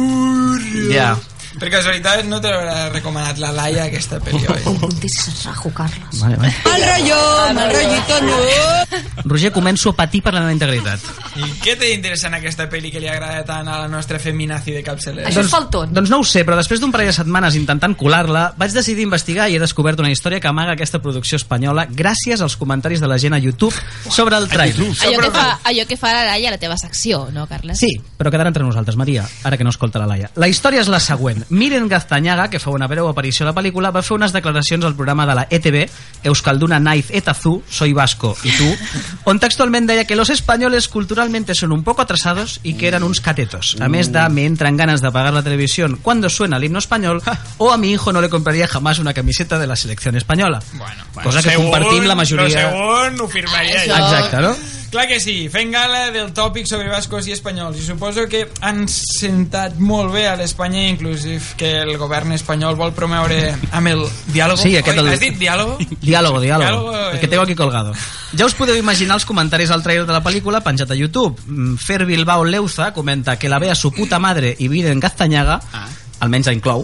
Speaker 1: M'avorro.
Speaker 15: Ja.
Speaker 1: Per casualitat no te l'haurà recomanat la Laia aquesta pel·li, oi?
Speaker 8: Deixa's rajo, Carles.
Speaker 15: Vale, vale.
Speaker 8: Mal rotllo, mal rotllito, no.
Speaker 15: Roger, començo a patir per la meva integritat.
Speaker 1: I què té interessant aquesta pel·li que li agrada tant a la nostra feminazi de capçalera?
Speaker 15: falton. Doncs no ho sé, però després d'un parell de setmanes intentant colar-la, vaig decidir investigar i he descobert una història que amaga aquesta producció espanyola gràcies als comentaris de la gent a YouTube sobre el trailer.
Speaker 9: Allò que, fa, allò que fa la Laia a la teva secció, no, Carles?
Speaker 15: Sí, però quedarà entre nosaltres, Maria, ara que no escolta la Laia. La història és la següent. Miren Gaztanyaga, que fa una breu aparició a la pel·lícula, va fer unes declaracions al programa de la ETV, Euskalduna Naiz Etazú, Soy Vasco y tú, on textualment deia que los españoles culturalmente son un poco atrasados y que eran uns catetos. A més de me entran ganas de apagar la televisión cuando suena el himno español o a mi hijo no le compraría jamás una camiseta de la selección española. Bueno, cosa que
Speaker 1: Segon,
Speaker 15: compartim la
Speaker 1: Lo
Speaker 15: majoria...
Speaker 1: segon ho firmaria.
Speaker 15: Això-
Speaker 1: jo.
Speaker 15: Exacte, no?
Speaker 1: Clar que sí, fent gala del tòpic sobre bascos i espanyols. I suposo que han sentat molt bé a l'Espanya, inclusive que el govern espanyol vol promoure amb el diàlogo.
Speaker 15: Sí, aquest
Speaker 1: Oi,
Speaker 15: el-
Speaker 1: Has dit diàlogo?
Speaker 15: Diàlogo, diàlogo.
Speaker 1: Diàlogo,
Speaker 15: El que tengo aquí colgado. Ja us podeu imaginar els comentaris al trailer de la pel·lícula penjat a YouTube. Mm, Fer Bilbao Leuza comenta que la vea su puta madre i vive en Gaztañaga, almenys la inclou.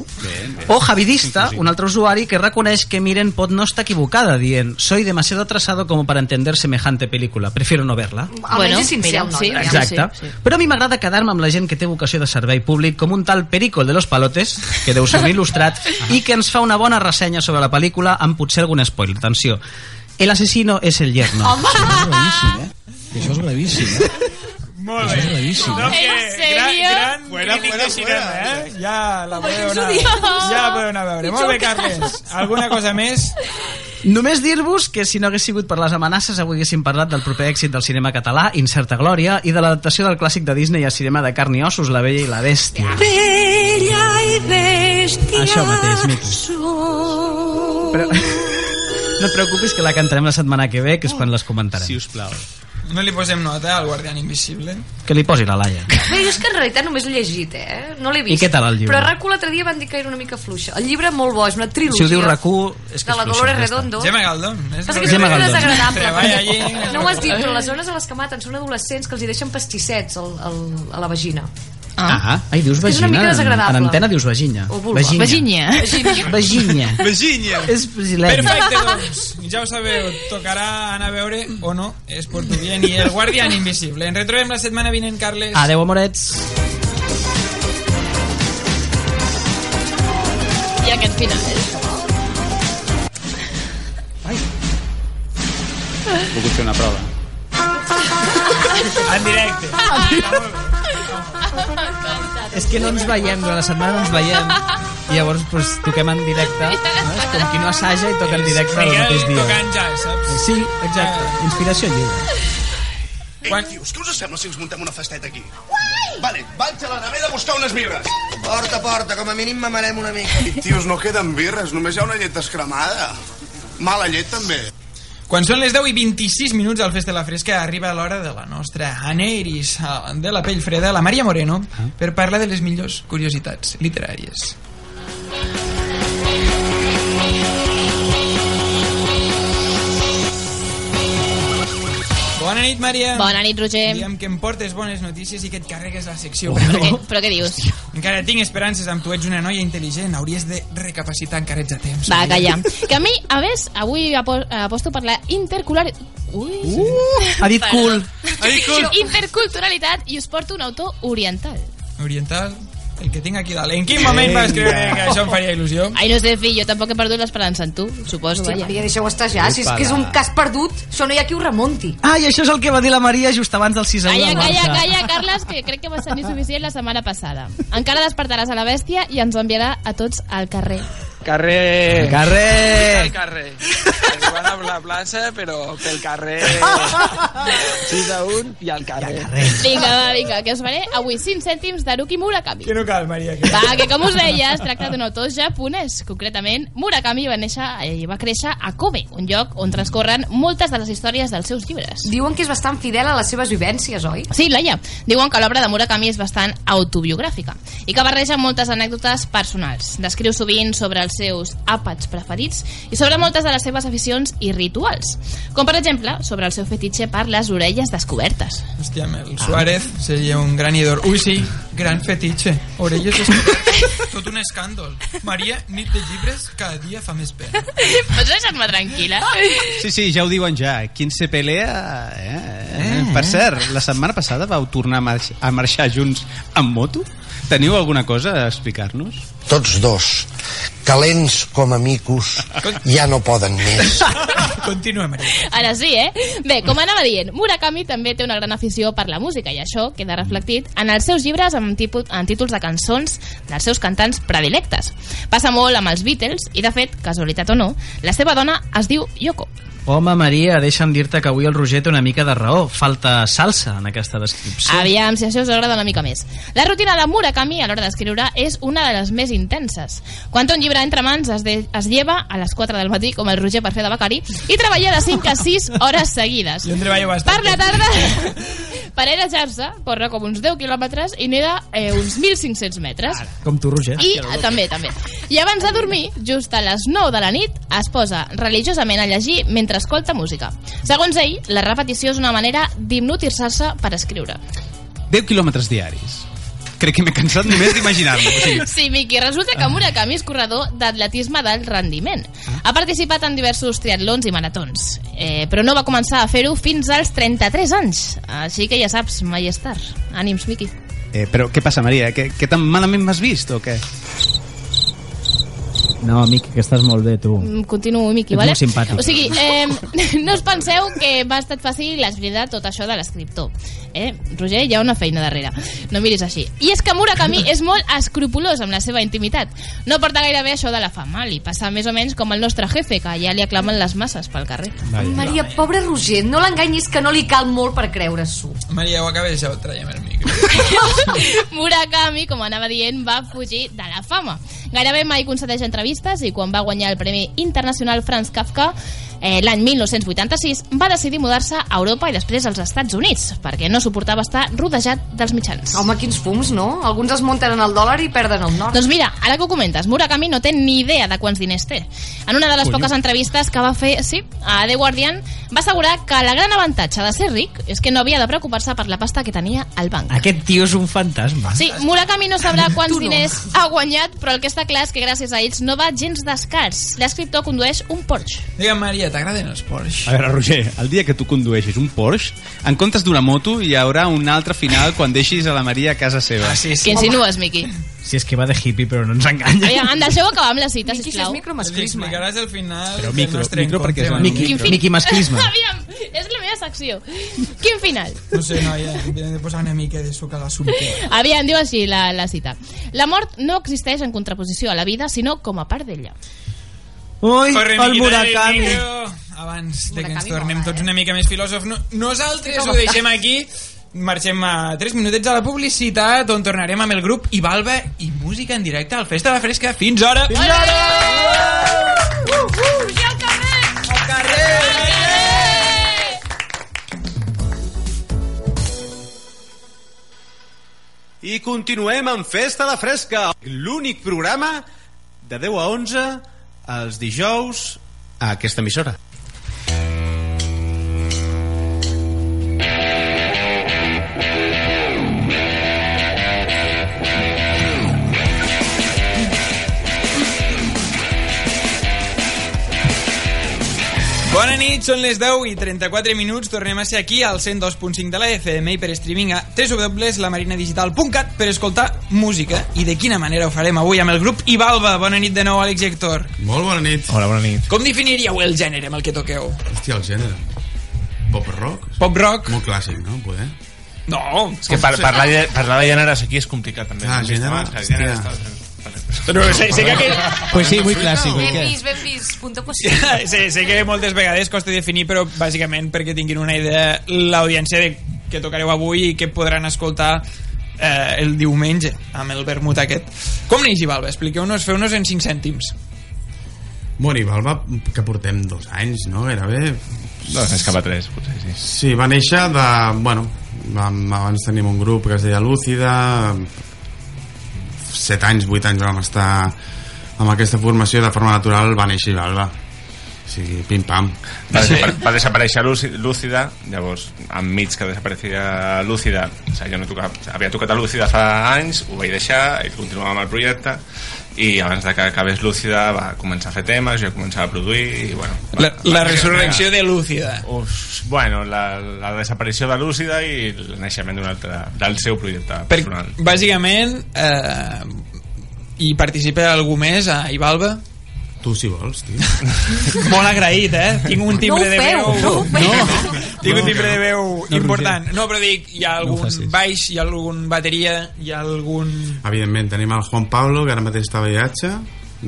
Speaker 15: O Javidista, un altre usuari que reconeix que Miren pot no estar equivocada dient soy demasiado atrasado como para entender semejante película, prefiero no verla.
Speaker 8: Bueno, és sincer,
Speaker 9: mira,
Speaker 8: el
Speaker 9: sí,
Speaker 8: noi.
Speaker 15: Exacte. Sí, sí. Però a mi m'agrada quedar-me amb la gent que té vocació de servei públic, com un tal Perico el de los Palotes, que deu ser un il·lustrat, i que ens fa una bona ressenya sobre la pel·lícula amb potser algun spoiler. Atenció. El asesino és el yerno.
Speaker 4: Home!
Speaker 7: eh?
Speaker 4: Això és gravíssim, eh?
Speaker 1: Molt bé.
Speaker 4: gravíssim.
Speaker 1: No,
Speaker 4: En
Speaker 1: que gran,
Speaker 4: serio?
Speaker 1: gran
Speaker 4: Fuera,
Speaker 1: crític
Speaker 4: fuera,
Speaker 1: de cinema,
Speaker 4: fuera.
Speaker 1: eh? Ja la
Speaker 4: Home,
Speaker 1: podeu
Speaker 4: què us ho
Speaker 1: anar,
Speaker 4: diu?
Speaker 1: ja la podeu anar a veure. Molt bé,
Speaker 4: Pitjor que-
Speaker 1: Carles. Alguna cosa més?
Speaker 15: Només dir-vos que si no hagués sigut per les amenaces avui haguéssim parlat del proper èxit del cinema català, Incerta Glòria, i de l'adaptació del clàssic de Disney a cinema de carn i ossos, La Bella i la Bèstia.
Speaker 4: Bella i bèstia
Speaker 15: Això mateix, Miqui.
Speaker 4: Però...
Speaker 15: No et preocupis que la cantarem la setmana que ve, que és quan les comentarem. Si us plau.
Speaker 1: No li posem nota al Guardián Invisible.
Speaker 15: Que li posi la Laia.
Speaker 8: Bé, jo és que en realitat només l'he llegit, eh? No l'he
Speaker 15: I
Speaker 8: vist.
Speaker 15: què tal el llibre?
Speaker 8: Però a RAC1 l'altre dia van dir que era una mica fluixa. El llibre molt bo, és una trilogia.
Speaker 15: Si ho diu RAC1, és que
Speaker 8: De la
Speaker 15: és fluixa,
Speaker 8: Dolores
Speaker 15: ja està.
Speaker 8: Redondo.
Speaker 1: Gemma Galdón. eh?
Speaker 8: Passa que
Speaker 15: Gemma
Speaker 8: Gemma és
Speaker 15: Galdón.
Speaker 8: desagradable.
Speaker 1: Treballa
Speaker 8: perquè
Speaker 1: allí.
Speaker 8: No ho has dit, però les zones a les que maten són adolescents que els hi deixen pastissets al, al, a la vagina.
Speaker 15: Ah, ai, dius
Speaker 8: És una
Speaker 15: vagina.
Speaker 8: mica
Speaker 15: en-
Speaker 8: desagradable.
Speaker 15: En antena dius vagina.
Speaker 8: O vulva.
Speaker 9: Vagínia.
Speaker 15: Vagínia.
Speaker 1: Virginia.
Speaker 15: És brasileña.
Speaker 1: Perfecte, doncs. Ja ho sabeu, tocarà anar a veure o no, és portuguès i el guardián invisible. Ens retrobem la setmana vinent, Carles.
Speaker 15: Adeu, amorets.
Speaker 9: I aquest final.
Speaker 11: Puc fer una prova.
Speaker 1: En directe.
Speaker 15: És que no ens veiem, durant la setmana no ens veiem. I llavors pues, toquem en directe, no? És com qui no assaja i toca en directe el
Speaker 1: Miguel
Speaker 15: mateix dia.
Speaker 1: tocant jazz, eh, saps?
Speaker 15: Sí, exacte. Inspiració lliure.
Speaker 18: Ei, tios, què us sembla si ens muntem una festeta aquí? Guai! Vale, vaig a la nevera a buscar unes birres.
Speaker 19: Porta, porta, com a mínim mamarem una mica.
Speaker 18: Tios, no queden birres, només hi ha una llet descremada. Mala llet, també.
Speaker 1: Quan són les 10 i 26 minuts al Festa de la Fresca arriba l'hora de la nostra Aneiris eh, de la pell freda, la Maria Moreno, per parlar de les millors curiositats literàries. Bona nit, Maria.
Speaker 9: Bona nit, Roger.
Speaker 1: Diem que em portes bones notícies i que et carregues la secció.
Speaker 9: Però què, però què dius?
Speaker 1: Encara tinc esperances amb tu, ets una noia intel·ligent, hauries de recapacitar encara ets a temps.
Speaker 9: Va,
Speaker 1: Maria.
Speaker 9: calla. Que a mi, a més, avui apo- aposto per la intercular... Ui.
Speaker 15: Uh,
Speaker 1: ha dit
Speaker 9: Perdó.
Speaker 1: cool. Ha dit cool.
Speaker 9: Interculturalitat i us porto un autor oriental.
Speaker 1: Oriental, el que tinc aquí dalt. En quin moment vas creure que això em faria il·lusió?
Speaker 9: Ai, no sé, fill, jo tampoc he perdut l'esperança en tu, suposo.
Speaker 8: Hòstia,
Speaker 9: vaja.
Speaker 8: Maria, deixeu estar ja. Si és que és un cas perdut, això no hi ha qui ho remunti.
Speaker 15: Ah, i això és el que va dir la Maria just abans del 6 a 1
Speaker 9: Calla,
Speaker 15: del
Speaker 9: calla,
Speaker 15: Barça.
Speaker 9: calla, Carles, que crec que va tenir suficient la setmana passada. Encara despertaràs a la bèstia i ens enviarà a tots al carrer.
Speaker 10: Carrer.
Speaker 15: Carrer.
Speaker 10: Al carrer. Es van a la plaça, però pel carrer...
Speaker 1: Ah!
Speaker 10: 6 a 1 i al carrer.
Speaker 9: Vinga, va, vinga, que us faré avui 5 cèntims d'Haruki Murakami.
Speaker 1: Que no cal, Maria. Que...
Speaker 9: Va, que com us deia, es tracta d'un autor japonès. Concretament, Murakami va néixer i va créixer a Kobe, un lloc on transcorren moltes de les històries dels seus llibres.
Speaker 8: Diuen que és bastant fidel a les seves vivències, oi?
Speaker 9: Sí, Laia. Diuen que l'obra de Murakami és bastant autobiogràfica i que barreja moltes anècdotes personals. Descriu sovint sobre els seus àpats preferits i sobre moltes de les seves aficions i rituals. Com, per exemple, sobre el seu fetitxe per les orelles descobertes.
Speaker 1: Hòstia, el Suárez seria un gran idol. Ui, sí, gran fetitxe. Orelles escobertes. Tot un escàndol. Maria, nit de llibres, cada dia fa més pena.
Speaker 9: Pots deixar-me tranquil·la?
Speaker 6: Sí, sí, ja ho diuen ja. Quin se pelea... Eh? Eh? Per cert, la setmana passada vau tornar a, marx a marxar junts amb moto? Teniu alguna cosa a explicar-nos?
Speaker 19: Tots dos, calents com a micos, ja no poden més.
Speaker 1: Continua, Maria.
Speaker 9: Ara sí, eh? Bé, com anava dient, Murakami també té una gran afició per la música i això queda reflectit en els seus llibres amb, tipus, en títols de cançons dels seus cantants predilectes. Passa molt amb els Beatles i, de fet, casualitat o no, la seva dona es diu Yoko.
Speaker 15: Home, Maria, deixa'm dir-te que avui el Roger té una mica de raó. Falta salsa en aquesta descripció.
Speaker 9: Aviam si això us agrada una mica més. La rutina de Murakami a l'hora d'escriure és una de les més intenses. Quan té un llibre entre mans es, de, es lleva a les 4 del matí, com el Roger per fer de becari, i treballa de 5 a 6 hores seguides.
Speaker 1: Jo en treballo bastant.
Speaker 9: Per la tarda, per arejar-se, corre com uns 10 quilòmetres i neda eh, uns 1.500 metres.
Speaker 15: Com tu, Roger.
Speaker 9: I eh, també, també. I abans de dormir, just a les 9 de la nit, es posa religiosament a llegir mentre escolta música. Segons ell, la repetició és una manera d'hipnotitzar-se per escriure.
Speaker 6: 10 quilòmetres diaris. Crec que m'he cansat només d'imaginar-lo. O sigui,
Speaker 9: Sí, Miqui, resulta que Murakami és corredor d'atletisme d'alt rendiment. Ha participat en diversos triatlons i maratons, eh, però no va començar a fer-ho fins als 33 anys. Així que ja saps, mai és tard. Ànims, Miqui.
Speaker 6: eh, però què passa, Maria? Que, que tan malament m'has vist o què?
Speaker 15: No, Miqui, que estàs molt bé, tu.
Speaker 9: Mm, Continuo, Miqui,
Speaker 15: Ets
Speaker 9: vale?
Speaker 15: molt simpàtic.
Speaker 9: O sigui, eh, no us penseu que m'ha estat fàcil esbrinar tot això de l'escriptor. Eh, Roger, hi ha una feina darrere. No miris així. I és que Murakami és molt escrupulós amb la seva intimitat. No porta gaire bé això de la fama. Li passa més o menys com el nostre jefe, que ja li aclamen les masses pel carrer.
Speaker 8: Maria, pobre Roger, no l'enganyis que no li cal molt per creure-s'ho.
Speaker 1: Maria, ho acabes ja ho traiem el micro.
Speaker 9: Murakami, com anava dient, va fugir de la fama. Gairebé mai concedeix entrevistes i quan va guanyar el Premi Internacional Franz Kafka eh, l'any 1986, va decidir mudar-se a Europa i després als Estats Units, perquè no suportava estar rodejat dels mitjans.
Speaker 8: Home, quins fums, no? Alguns es munten en el dòlar i perden el nord.
Speaker 9: Doncs mira, ara que ho comentes, Murakami no té ni idea de quants diners té. En una de les
Speaker 8: Coño.
Speaker 9: poques entrevistes que va fer sí, a The Guardian, va assegurar que la gran avantatge de ser ric és que no havia de preocupar-se per la pasta que tenia al banc.
Speaker 15: Aquest tio és un fantasma.
Speaker 9: Sí, Murakami no sabrà quants diners ha guanyat, però el que està clar és que gràcies a ells no va gens d'escars. L'escriptor condueix un Porsche.
Speaker 1: Digue'm, Maria, t'agraden els Porsche?
Speaker 6: A veure, Roger, el dia que tu condueixis un Porsche, en comptes d'una moto hi haurà un altre final quan deixis a la Maria a casa seva. Ah,
Speaker 1: sí,
Speaker 9: Què insinues, Miqui?
Speaker 15: Si és que va de hippie, però no ens enganya.
Speaker 9: Aviam, em deixeu acabar amb la cita, sisplau.
Speaker 8: Miqui,
Speaker 1: Li explicaràs al final
Speaker 15: Però
Speaker 1: del
Speaker 15: micro,
Speaker 1: nostre
Speaker 15: micro perquè és
Speaker 1: encontre,
Speaker 15: un
Speaker 1: Manu.
Speaker 15: micro. Quin Miqui masclisme.
Speaker 9: Aviam, és la meva secció. Quin final?
Speaker 1: No sé, noia, hem de posar una mica de suc a l'assumpte.
Speaker 9: Aviam, diu així la, la cita. La mort no existeix en contraposició a la vida, sinó com a part d'ella.
Speaker 15: Ui,
Speaker 1: Corre,
Speaker 15: el
Speaker 1: Miquita,
Speaker 15: Murakami.
Speaker 1: tio. Abans de que ens
Speaker 9: Murakami
Speaker 1: tornem tots una mica més filòsofs, no, nosaltres
Speaker 9: Sí,
Speaker 1: ho
Speaker 9: com està?
Speaker 1: deixem aquí. Marxem a 3 minutets a la publicitat, on tornarem amb el grup Ibalba i música en directe al Festa de la Fresca. Fins ara!
Speaker 4: Fins ara!
Speaker 9: Uhuh!
Speaker 2: I continuem amb Festa a la Fresca, l'únic programa de 10 a 11 els dijous a aquesta emissora.
Speaker 1: Bona nit, són les 10 i 34 minuts. Tornem a ser aquí al 102.5 de la FM i per streaming a www.lamarinadigital.cat per escoltar música. I de quina manera ho farem avui amb el grup Ibalba. Bona nit de nou, Àlex i Héctor.
Speaker 11: Molt bona nit. Hola, bona nit.
Speaker 1: Com definiríeu el gènere amb el que toqueu?
Speaker 11: Hòstia, el gènere. Pop rock?
Speaker 1: Pop rock.
Speaker 11: Molt clàssic, no? Poder.
Speaker 1: No.
Speaker 20: És que par parlar, de, parlar de gèneres aquí és complicat també.
Speaker 11: Ah,
Speaker 20: Ho he vist
Speaker 11: gènere,
Speaker 20: abans, que el gènere
Speaker 11: hòstia.
Speaker 20: està- Però sé, sé que aquest...
Speaker 15: Pues sí, muy clásico.
Speaker 8: Ben vist, ben vist. Punto
Speaker 1: Sí,
Speaker 8: positiu.
Speaker 1: sí, sé que moltes vegades costa definir, però bàsicament perquè tinguin una idea l'audiència de què tocareu avui i què podran escoltar eh, el diumenge amb el vermut aquest. Com neix Ibalba? Expliqueu-nos, feu-nos en 5 cèntims.
Speaker 11: Bueno, i Valva, que portem dos anys, no? Gairebé...
Speaker 20: Dos anys cap a tres, potser, sí.
Speaker 11: Sí, va néixer de... Bueno, vam, abans teníem un grup que es deia Lúcida, set anys, vuit anys vam estar amb aquesta formació i de forma natural va néixer Valva. O sigui, pim-pam.
Speaker 20: Va, desapar va desaparèixer Lúci- Lúcida, llavors, enmig que desapareixia Lúcida, o sigui, jo no tocava, havia tocat a Lúcida fa anys, ho vaig deixar, ell continuava amb el projecte, i abans de que acabés Lúcida va començar a fer temes, jo començava a produir, i bueno... Va,
Speaker 1: La, la
Speaker 20: va-
Speaker 1: resurrecció de Lúcida.
Speaker 20: Uf, bueno, la, la desaparició de Lúcida i el naixement d'un altre, del seu projecte per... personal.
Speaker 1: Bàsicament, eh, hi participa algú més a Ibalba?
Speaker 11: Tu, si vols, tio.
Speaker 1: Molt agraït, eh? Tinc un
Speaker 4: No
Speaker 1: timbre
Speaker 4: ho
Speaker 1: de
Speaker 4: feu,
Speaker 1: veu...
Speaker 4: no ho feu.
Speaker 1: No, tinc un timbre de veu
Speaker 11: No,
Speaker 1: important. No, però dic, hi ha algun
Speaker 11: facis.
Speaker 1: baix, hi ha algun bateria, hi ha algun...
Speaker 11: Evidentment, tenim el Juan Pablo, que ara mateix està a viatge.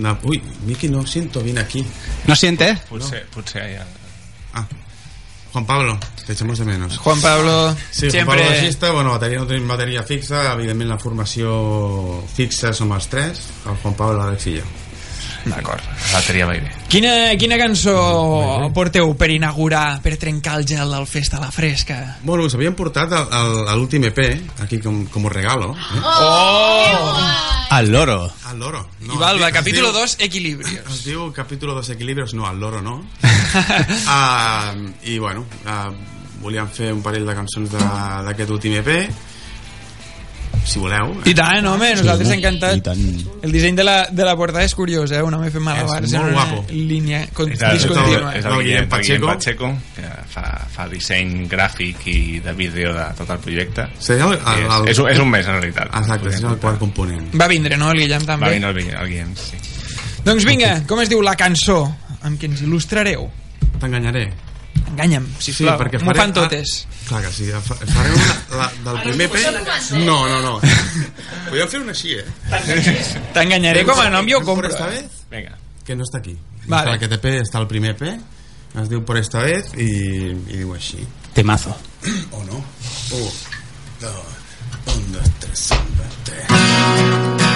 Speaker 11: No, ui, Miqui, no ho sento, vine aquí.
Speaker 6: No siente?
Speaker 20: Potser, no. potser hi ha...
Speaker 11: Ah. Juan Pablo, te echamos de menos.
Speaker 1: Juan Pablo,
Speaker 11: Sí, Juan
Speaker 1: siempre-
Speaker 11: Pablo baixista, bueno, bateria no tenim bateria fixa, evidentment la formació fixa som els tres, el Juan Pablo, l'Àlex i jo.
Speaker 20: D'acord, la bateria va bé.
Speaker 1: Quina, quina cançó porteu per inaugurar, per trencar el gel del Festa a la Fresca?
Speaker 11: Bueno, us havíem portat al- al- a l'últim EP, aquí com, com un regalo. Eh?
Speaker 20: Oh!
Speaker 6: Al loro.
Speaker 11: Al loro.
Speaker 1: I Valva,
Speaker 11: es
Speaker 1: capítulo
Speaker 11: diu-
Speaker 1: 2, Equilibrios.
Speaker 11: Es diu capítulo 2 equilibrios, no, al loro no. Ah, I bueno, ah, volíem fer un parell de cançons de- d'aquest últim EP, si voleu.
Speaker 1: I tant, home, nosaltres encantats.
Speaker 11: tant.
Speaker 1: El disseny de la, de la portada és curiós, eh? Un home fent malabars
Speaker 11: És
Speaker 1: en
Speaker 11: molt
Speaker 1: una
Speaker 11: guapo.
Speaker 1: línia con,
Speaker 20: És el, és el,
Speaker 1: discontínua.
Speaker 20: és el Guillem, Pacheco. Guillem Pacheco, que fa, fa disseny gràfic i de vídeo de tot el projecte.
Speaker 11: Sí, el- el-
Speaker 20: és,
Speaker 11: el-
Speaker 20: és, un- és un mes, en realitat.
Speaker 11: Exacte, és el quart component.
Speaker 1: Va vindre, no, el Guillem també?
Speaker 20: Va venir el, Guillem- el Guillem, sí.
Speaker 1: Doncs vinga, com es diu la cançó amb què ens il·lustrareu?
Speaker 11: T'enganyaré.
Speaker 1: Enganya'm, sisplau.
Speaker 11: Sí, perquè
Speaker 1: M'ho
Speaker 11: faré-
Speaker 1: fan totes.
Speaker 11: Ah, clar que sí, fa- faré una la, del primer E P. No, no, no. Podríem fer una així, eh?
Speaker 1: T'enganyaré com a nom, jo compro.
Speaker 11: Esta
Speaker 1: eh?
Speaker 11: vez?
Speaker 20: Vinga.
Speaker 11: Que no està aquí. No
Speaker 1: Vale.
Speaker 11: Està aquest EP, està el primer P, es diu Por esta vez i, i diu així.
Speaker 6: Temazo.
Speaker 11: O no. Un, dos, un, dos, tres, un, dos, tres.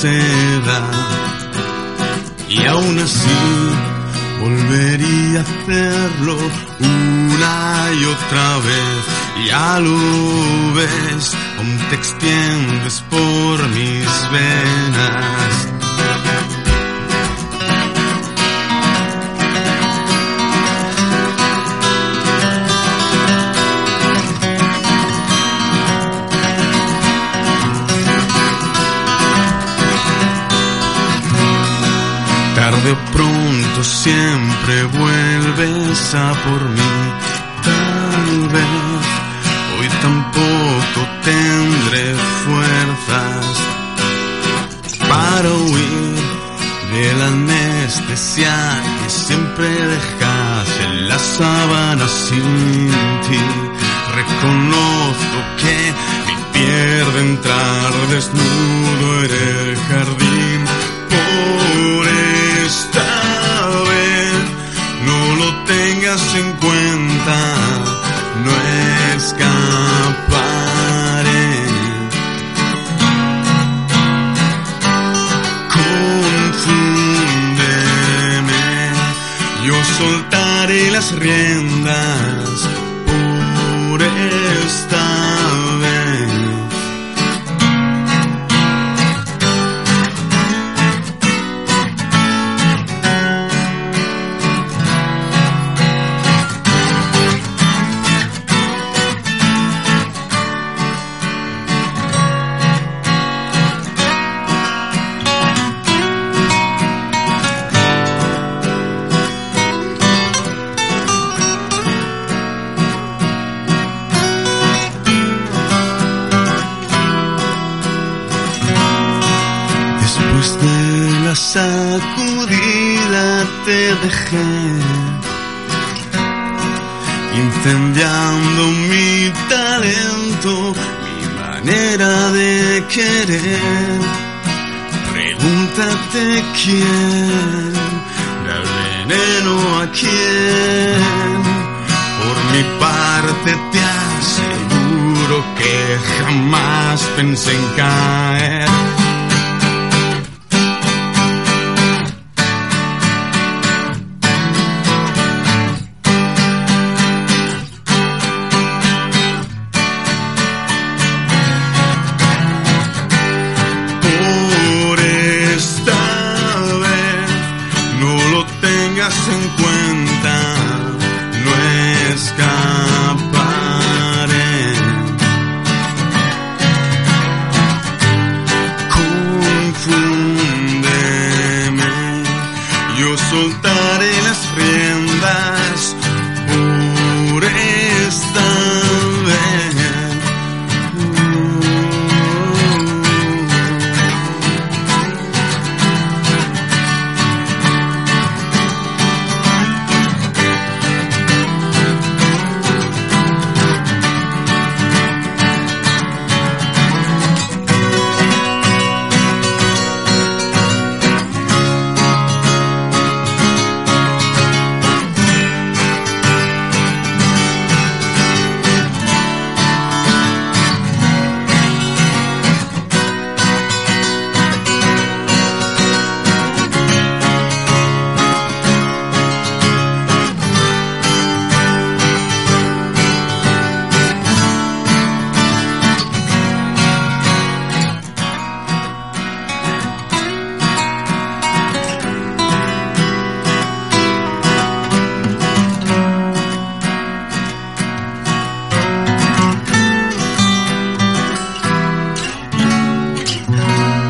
Speaker 12: seda y aún así volvería a hacerlo una y otra vez. Ya lo ves, aún te extiendes por mis venas. Tarde o pronto siempre vuelves a por mí. Tal vez hoy tampoco tendré fuerzas para huir de la anestesia que siempre dejas en la sábana sin ti. Reconozco que me pierde entrar desnudo en el jardín. Por esta vez no lo tengas en cuenta, no escaparé. Confúndeme, yo soltaré las riendas por esta vez. Después de la sacudida te dejé Incendiando mi talento, mi manera de querer Pregúntate quién da el veneno a quién por mi parte te aseguro que jamás pensé en caer. Por esta vez no lo tengas en cuenta, no escaparé. Confúndeme, yo soltaré las riendas por esta vez.
Speaker 11: Ah!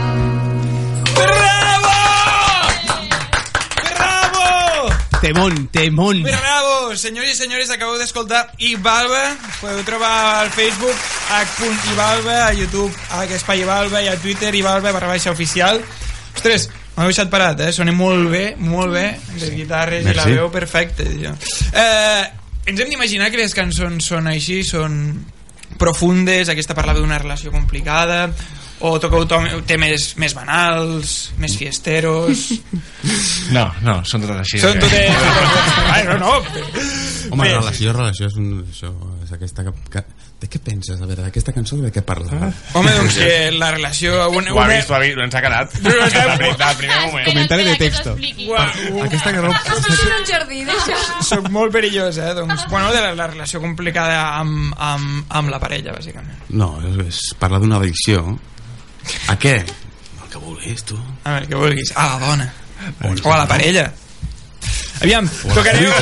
Speaker 6: Temón, temón.
Speaker 1: Bravo! Senyors i senyores, acabeu d'escoltar Ivalva. Podeu trobar al Facebook h.ivalva, a YouTube a Espai Ivalva i a Twitter Ivalva barra baixa oficial. Ostres, m'heu deixat parat, eh? Sonem molt bé, molt bé. Les guitarres i la
Speaker 21: Merci.
Speaker 1: veu perfecte. Ja. Eh, ens hem d'imaginar que les cançons són així, són profundes, aquesta parlava d'una relació complicada, o toqueu to- temes més banals, més fiesteros...
Speaker 20: No, no, són totes així.
Speaker 1: Són
Speaker 20: eh?
Speaker 1: totes... Ai, no, no.
Speaker 11: Home,
Speaker 1: Bé,
Speaker 11: relació, relació és, un, això, és aquesta... Que, que, de què penses, a veure, d'aquesta cançó de què parla?
Speaker 1: Home, doncs que la relació... Una,
Speaker 20: Ho ha vist, ho ha vist, ens ha quedat. Del primer- del primer moment.
Speaker 11: Comentari de texto.
Speaker 1: Aquesta
Speaker 11: que no...
Speaker 8: en un jardí, d'això.
Speaker 1: Soc molt perillosa, eh? Doncs, bueno, de la, la relació complicada amb, amb, amb la parella, bàsicament.
Speaker 11: No, és, és parla d'una addicció. A què? El que vulguis, tu.
Speaker 1: A veure, què vulguis. A la dona. O a la parella. Aviam,
Speaker 11: la
Speaker 1: tocareu,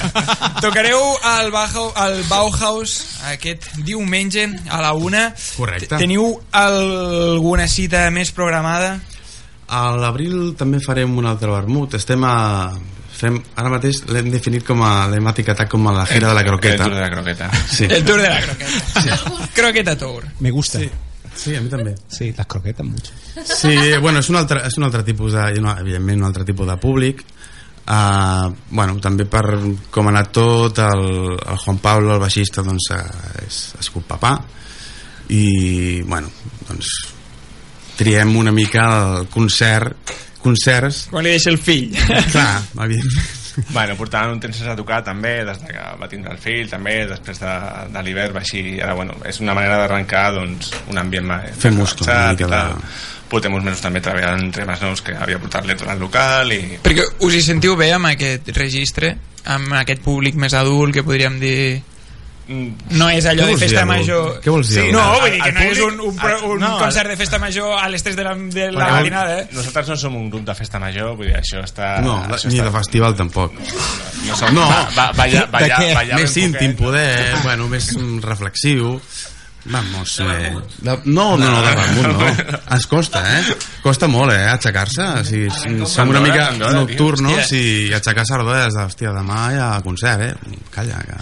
Speaker 1: tocareu al, Bauhaus, al Bauhaus aquest diumenge a la una.
Speaker 11: Correcte.
Speaker 1: Teniu alguna cita més programada?
Speaker 11: A l'abril també farem un altre vermut. Estem a... Fem, ara mateix l'hem definit com a... L'hem etiquetat com a la gira de la croqueta.
Speaker 20: El tour de la croqueta.
Speaker 11: Sí.
Speaker 1: El tour de la croqueta. Croqueta tour.
Speaker 11: Me gusta. Sí. Sí, a mi també.
Speaker 6: Sí, les croquetes mucho.
Speaker 11: Sí, eh, bueno, és un altre, és un altre tipus de, i no, evidentment un altre tipus de públic Uh, bueno, també per com ha anat tot el, el Juan Pablo, el baixista doncs, eh, és, és cul papà i bueno, doncs triem una mica el concert concerts
Speaker 1: Quan li deixa el fill.
Speaker 11: Clar, evidentment.
Speaker 20: Bueno, portaven un temps sense tocar també, des de que va tindre el fill també, després de, de l'hivern va així, ara bueno, és una manera d'arrencar doncs, un ambient més
Speaker 11: Fer múscul, una mica de-
Speaker 20: Portem uns mesos també treballant temes nous que havia portat l'Eto al local i...
Speaker 1: Perquè us hi sentiu bé amb aquest registre? Amb aquest públic més adult que podríem dir... No és allò
Speaker 20: Què
Speaker 1: de
Speaker 20: vols
Speaker 1: festa
Speaker 20: dir, adult?
Speaker 1: major...
Speaker 20: Què vols dir,
Speaker 1: Sí,
Speaker 20: adult?
Speaker 1: no,
Speaker 20: El-
Speaker 1: Oh, vull dir que
Speaker 20: el
Speaker 1: no és un,
Speaker 20: públic-
Speaker 1: un, pro- un
Speaker 20: el- no, el-
Speaker 1: concert de festa major a les 3 de la, de la
Speaker 20: Perquè
Speaker 1: matinada, eh?
Speaker 20: Nosaltres no som un grup de festa major, vull dir, això està...
Speaker 11: no,
Speaker 20: Ah, això
Speaker 11: ni
Speaker 20: està...
Speaker 11: de festival tampoc
Speaker 20: No som- va- va- balla-
Speaker 11: de
Speaker 20: balla-
Speaker 11: què?
Speaker 20: balla
Speaker 11: més
Speaker 20: ben
Speaker 11: íntim
Speaker 20: poquet.
Speaker 11: poder, bueno, més mm, reflexiu Vamos, eh, de- no, no, no, de vermut no. Ens costa, eh? Costa molt, eh, aixecar-se. O sigui, s- som una mica
Speaker 20: Andorra, tio.
Speaker 11: nocturnos
Speaker 20: Hòstia.
Speaker 11: i aixecar-se a les dues, hòstia, demà hi ha concert, eh? Calla, que...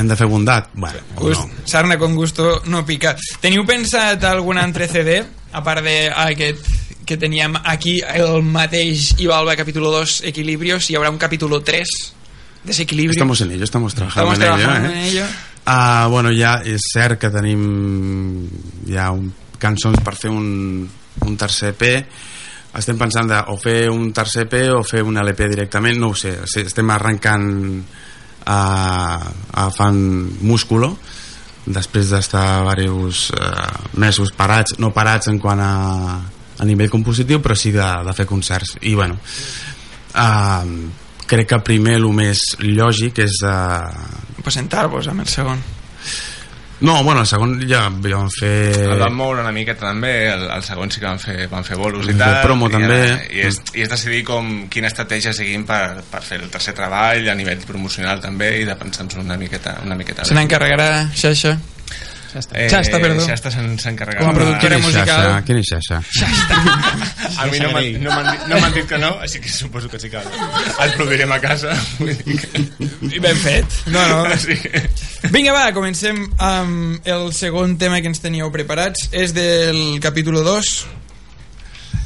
Speaker 11: Hem de fer bondat. Bueno, o no.
Speaker 1: Sarna con gusto no pica. Teniu pensat algun altre CD, a part d'aquest que teníem aquí el mateix Ibalba capítulo 2 Equilibrios hi haurà un capítulo 3 Desequilibrio
Speaker 11: Estamos en ello, estamos trabajando
Speaker 1: Estamos
Speaker 11: en ello,
Speaker 1: trabajando en
Speaker 11: eh?
Speaker 1: ello.
Speaker 11: Ah, bueno, ja és cert que tenim ja un, cançons per fer un, un tercer EP estem pensant de o fer un tercer EP o fer un LP directament, no ho sé Sí, estem arrencant a, a fan músculo després d'estar diversos eh, mesos parats, no parats en quant a, a nivell compositiu però sí de, de fer concerts i bueno eh, crec que primer el més lògic és eh,
Speaker 1: presentar-vos amb el segon
Speaker 11: no, bueno, el segon ja, ja vam fer...
Speaker 20: El van moure una miqueta també, el, el segon sí que van fer, van fer bolos i
Speaker 11: Van fer
Speaker 20: tal.
Speaker 11: promo,
Speaker 20: i,
Speaker 11: també.
Speaker 20: Ara, i, és, I és decidir com, quina estratègia seguim per, per fer el tercer treball a nivell promocional també i de pensar-nos una miqueta, una miqueta.
Speaker 1: se n'encarregarà Xaixa
Speaker 20: Eh,
Speaker 1: Xasta, perdó
Speaker 20: Xasta se'n- s'encarregarà.
Speaker 1: com a productora
Speaker 11: Quin és
Speaker 1: musical
Speaker 11: Xaxa? Quin és Xaxa?
Speaker 20: A mi no m'han no m'han dit, no m'han dit que no, així que suposo que sí que el produirem a casa. Vull dir que...
Speaker 1: I ben fet. No, no.
Speaker 20: Sí.
Speaker 1: Vinga, va, comencem amb el segon tema que ens teníeu preparats. És del capítol 2.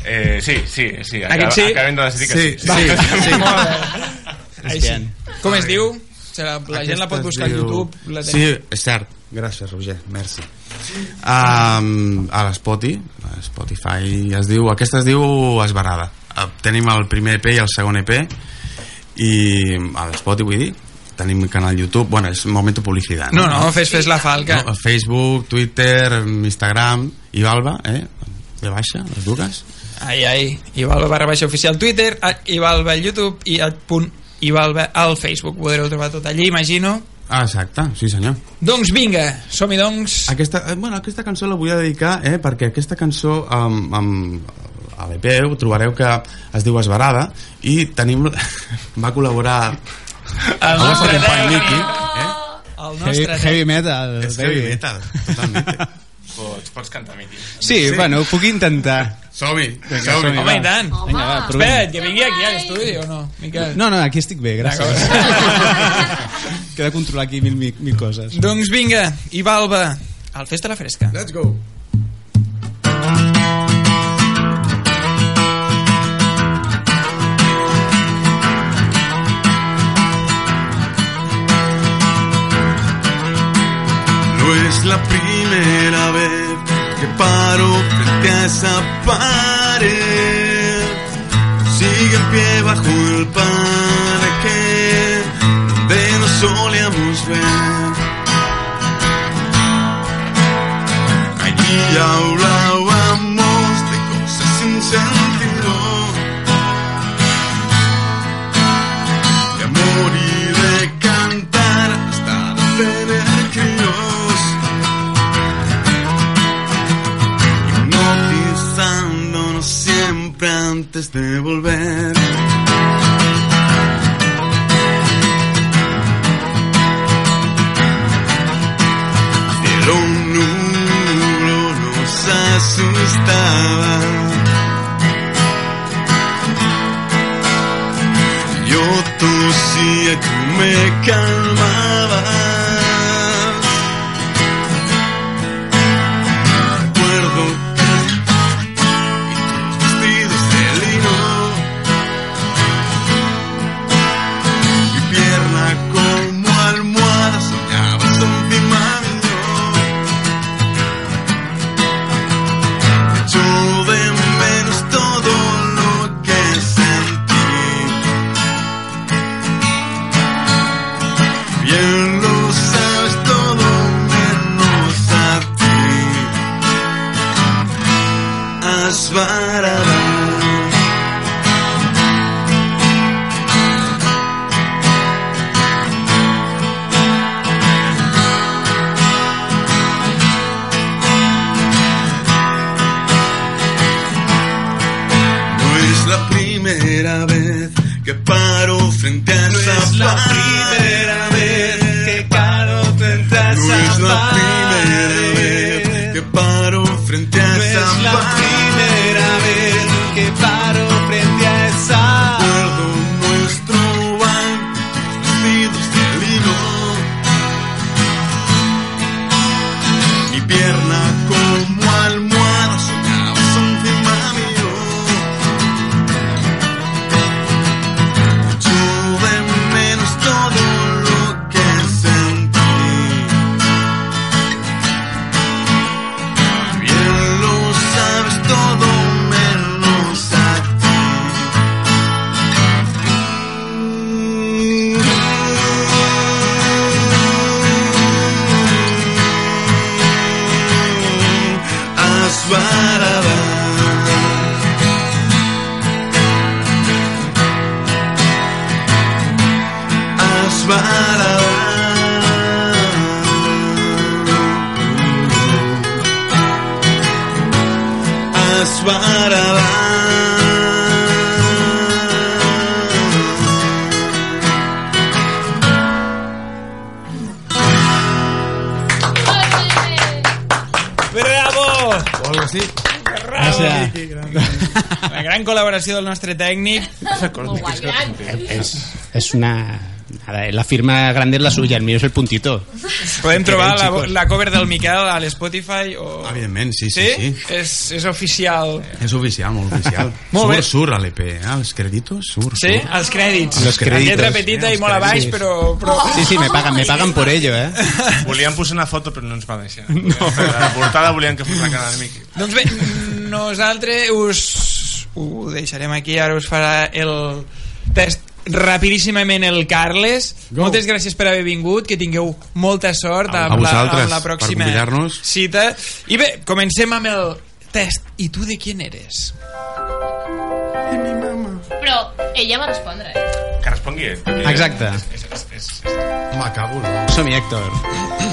Speaker 20: Eh, sí, sí, sí.
Speaker 1: Aquest sí?
Speaker 20: Acabem de decidir que sí.
Speaker 1: Sí, sí, sí. Molt bé. Així.
Speaker 11: Cristian.
Speaker 1: Com es diu? Se la, la gent la pot buscar a YouTube. La
Speaker 11: sí, és cert. Gràcies, Roger. Merci. Um, a l'Spoti, a Spotify es diu... Aquesta es diu Esbarada. Eh, Tenim el primer EP i el segon EP i a l'Spoti, vull dir, tenim canal YouTube, bueno, és momento publicidad.
Speaker 1: No, no, fes- fes la falca.
Speaker 11: No, Facebook, Twitter, mm. Instagram, i Balba, eh? De baixa, les dues.
Speaker 1: Ai, ai. Ivalba barra baixa oficial Twitter, a- Ivalba al YouTube i a punt Ivalba al Facebook. Podreu trobar tot allí, imagino.
Speaker 11: Ah, exacte, sí senyor.
Speaker 1: Doncs vinga, som-hi doncs.
Speaker 11: Aquesta, eh, bueno, aquesta cançó la vull dedicar eh, perquè aquesta cançó um, um, a l'EP ho trobareu que es diu Esbarada i tenim va col·laborar el nostre company Miqui eh?
Speaker 1: El
Speaker 6: Heavy, heavy metal.
Speaker 11: és heavy
Speaker 6: baby.
Speaker 11: metal totalment
Speaker 20: Pots, pots cantar, Miqui.
Speaker 6: Sí, bueno, ho puc intentar.
Speaker 11: Som-hi,
Speaker 6: Vinga,
Speaker 11: som-hi.
Speaker 6: som-hi,
Speaker 1: Home,
Speaker 6: va.
Speaker 1: i tant.
Speaker 6: Vinga, va, provem.
Speaker 1: Espera't, que vingui aquí a l'estudi o no, Miquel?
Speaker 6: No, no, aquí estic bé, gràcies. que he de controlar aquí mil, mil, mil coses.
Speaker 1: Doncs vinga, i Balba, al Festa la Fresca. Let's go.
Speaker 12: No es la primera vez que paro frente a esa pared. Sigue en pie bajo el paraquet. solíamos ver. Allí hablábamos de cosas sin sentido, de amor y de cantar hasta de tener críos, hipnotizándonos siempre antes de volver. Pero un nulo nos asustaba. Yo tosía y tú me calmabas. Recuerdo y tus vestidos de lino. Mi pierna como almohada soñaba encima mío. Echo de menos todo lo que sentí. Bien lo sabes todo menos a ti. Asbarada. No es la primera vez que paro frente a esa No es la primera vez que paro frente a esa No es la primera vez que paro frente a esa No es la primera vez que paro frente a esa Recuerdo nuestro banco, tus vestidos de lino Mi pierna como almohada soñaba encima mío Yo de menos todo lo que sentí. Bien lo sabes todo menos a ti. Asbarada.
Speaker 1: Bravo!
Speaker 11: O algo así.
Speaker 1: Bravo,
Speaker 11: Gràcies.
Speaker 1: Miqui, gràcies. La gran col·laboració del nostre tècnic.
Speaker 21: Es, es una. nada, la firma grande es la suya, el mío es el puntito.
Speaker 1: Podem trobar la,
Speaker 21: Chicos.
Speaker 1: la cover del Miquel a l'Spotify o...
Speaker 11: Evidentment, sí, sí,
Speaker 1: Sí?
Speaker 11: sí.
Speaker 1: És, és oficial.
Speaker 11: És oficial, molt oficial.
Speaker 1: Molt bé.
Speaker 11: surt, surt a l'EP, eh? Els creditos, surt,
Speaker 1: Sí,
Speaker 11: surt.
Speaker 1: els crèdits.
Speaker 11: Els crèdits.
Speaker 1: Lletra petita
Speaker 11: Sí,
Speaker 1: i molt
Speaker 11: els
Speaker 1: a baix,
Speaker 11: crèdits.
Speaker 1: però... però...
Speaker 21: Sí, sí, me pagan, me pagan por ello, eh?
Speaker 20: Volíem posar una foto, però no ens va deixar. No. La portada volíem que fos la cara de Miqui.
Speaker 1: Doncs bé, nosaltres us ho deixarem aquí, ara us farà el test rapidíssimament el Carles. Go. Moltes gràcies per haver vingut, que tingueu molta sort
Speaker 11: A- a
Speaker 1: amb, la,
Speaker 11: vosaltres,
Speaker 1: amb la
Speaker 11: per
Speaker 1: pròxima
Speaker 11: convidar-nos.
Speaker 1: cita. I bé, comencem amb el test. I tu de quién eres?
Speaker 9: Però ell ja va respondre, eh?
Speaker 20: Que respongui ell.
Speaker 6: Exacte.
Speaker 11: Home, cago,
Speaker 6: Som-hi, Héctor.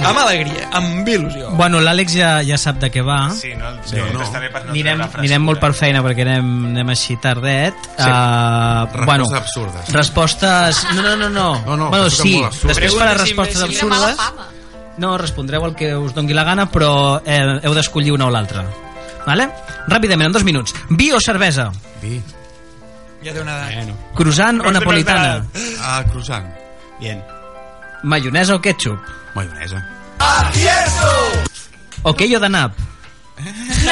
Speaker 1: Amb alegria, amb il·lusió.
Speaker 15: Bueno, l'Àlex ja, ja sap de què va.
Speaker 20: Sí, no, sí, no, no. Estaré per no
Speaker 15: Anirem,
Speaker 20: treure la frase.
Speaker 15: anirem molt per feina perquè anem, anem així tardet. Sí.
Speaker 11: Respostes
Speaker 15: bueno,
Speaker 11: absurdes.
Speaker 15: Respostes... No, no, no. no. no, no bueno,
Speaker 11: respostes
Speaker 15: sí,
Speaker 11: molt absurdes.
Speaker 15: després farà respostes
Speaker 11: Preguntes imbècils.
Speaker 15: absurdes. No, respondreu el que us dongui la gana, però eh, heu d'escollir una o l'altra. Vale? Ràpidament, en dos minuts. Vi o cervesa?
Speaker 11: Vi.
Speaker 1: Ja té una edat.
Speaker 11: Bueno.
Speaker 15: Croissant o napolitana?
Speaker 11: Ah, croissant.
Speaker 6: Bien.
Speaker 15: Mayonesa o ketchup?
Speaker 11: Mayonesa.
Speaker 15: Ok o danap?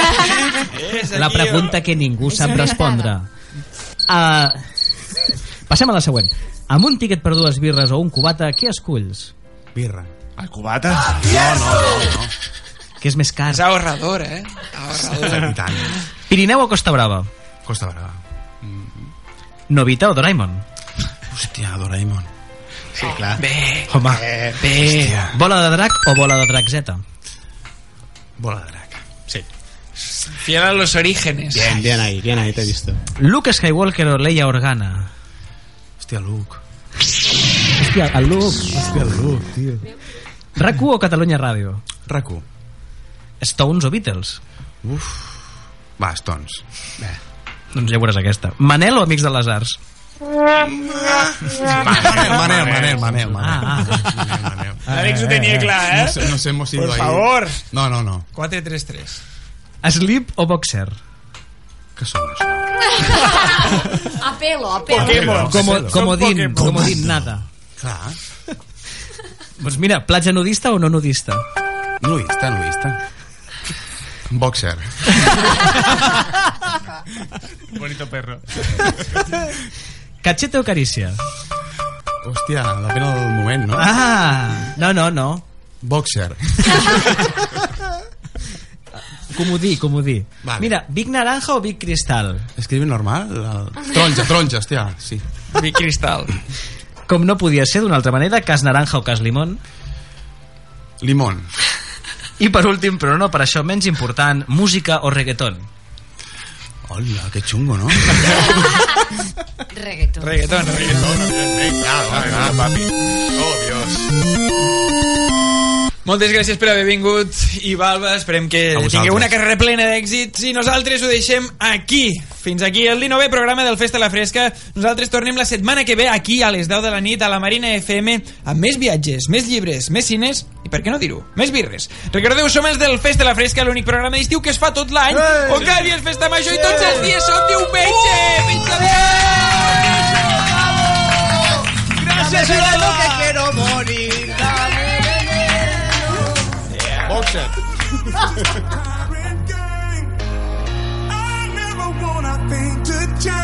Speaker 15: La pregunta que ningú sap
Speaker 1: veritat.
Speaker 15: respondre. Uh, passem a la següent. Amb un tiquet per dues birres o un cubata, què esculls?
Speaker 11: Birra.
Speaker 20: El cubata?
Speaker 15: No, no, no. Què és més car? És
Speaker 1: ahorrador, eh?
Speaker 11: I tant.
Speaker 15: Pirineu o Costa Brava? Mm.
Speaker 11: Costa Brava.
Speaker 15: Novita o Doraemon?
Speaker 11: Hòstia, Doraemon.
Speaker 6: Sí, clar.
Speaker 15: Bé. Home. Bé. Bola de drac o bola de drac Z?
Speaker 6: Bola de drac. Sí.
Speaker 1: Fiel a los orígenes.
Speaker 21: Bien, bien ahí, bien ahí, te he visto.
Speaker 15: Luke Skywalker o Leia Organa?
Speaker 21: Hostia, Luke.
Speaker 15: Hòstia, el Luke.
Speaker 21: Hòstia, el Luke, tio.
Speaker 15: rac o Catalunya Ràdio?
Speaker 11: rac
Speaker 15: Stones o Beatles?
Speaker 11: Uf. Va, Stones.
Speaker 15: Bé. Doncs ja veuràs aquesta. Manel o Amics de les Arts?
Speaker 11: Manel, Manel, Manel, Manel. Manel.
Speaker 1: Ah, L'Àlex ho tenia clar, eh?
Speaker 11: Nos, nos hemos ido
Speaker 1: Por
Speaker 11: ahí.
Speaker 1: favor.
Speaker 11: No, no, no.
Speaker 1: 4-3-3.
Speaker 15: Sleep o Boxer?
Speaker 11: Que són els
Speaker 14: A pelo, a pelo.
Speaker 15: Como,
Speaker 14: Pokémon.
Speaker 15: comodín, comodín, nada.
Speaker 11: Clar.
Speaker 15: Doncs mira, platja nudista o no nudista?
Speaker 11: Nudista, nudista. Boxer.
Speaker 6: Bonito perro.
Speaker 15: Cachete o carícia?
Speaker 11: Hòstia, depèn del moment, no?
Speaker 15: Ah, no, no, no.
Speaker 11: Boxer.
Speaker 15: Comodí, comodí.
Speaker 11: Vale.
Speaker 15: Mira, Big Naranja o Big Cristal?
Speaker 11: Escriu normal? El... Taronja, taronja, hòstia, sí.
Speaker 1: Big Cristal.
Speaker 15: Com no podia ser d'una altra manera, cas naranja o cas limón?
Speaker 11: Limón.
Speaker 15: I per últim, però no per això menys important, música o reggaeton?
Speaker 11: Hola, que xungo, no?
Speaker 8: Reggaeton.
Speaker 1: Reggaeton, reggaeton.
Speaker 11: Claro, papi. Oh,
Speaker 1: Moltes gràcies per haver vingut i Balba, esperem que
Speaker 2: vosaltres.
Speaker 1: tingueu una carrera plena d'èxits i nosaltres ho deixem aquí. Fins aquí el 19è programa del Festa a la Fresca. Nosaltres tornem la setmana que ve aquí a les 10 de la nit a la Marina FM amb més viatges, més llibres, més cines i per què no dir-ho, més birres. Recordeu, som els del Festa a la Fresca, l'únic programa d'estiu que es fa tot l'any,
Speaker 2: Ei!
Speaker 1: on cada dia és festa major i tots els dies són diumenge. Fins adéu!
Speaker 2: Gracias a lo que quiero morir. Boxer.
Speaker 5: I never wanna think to change.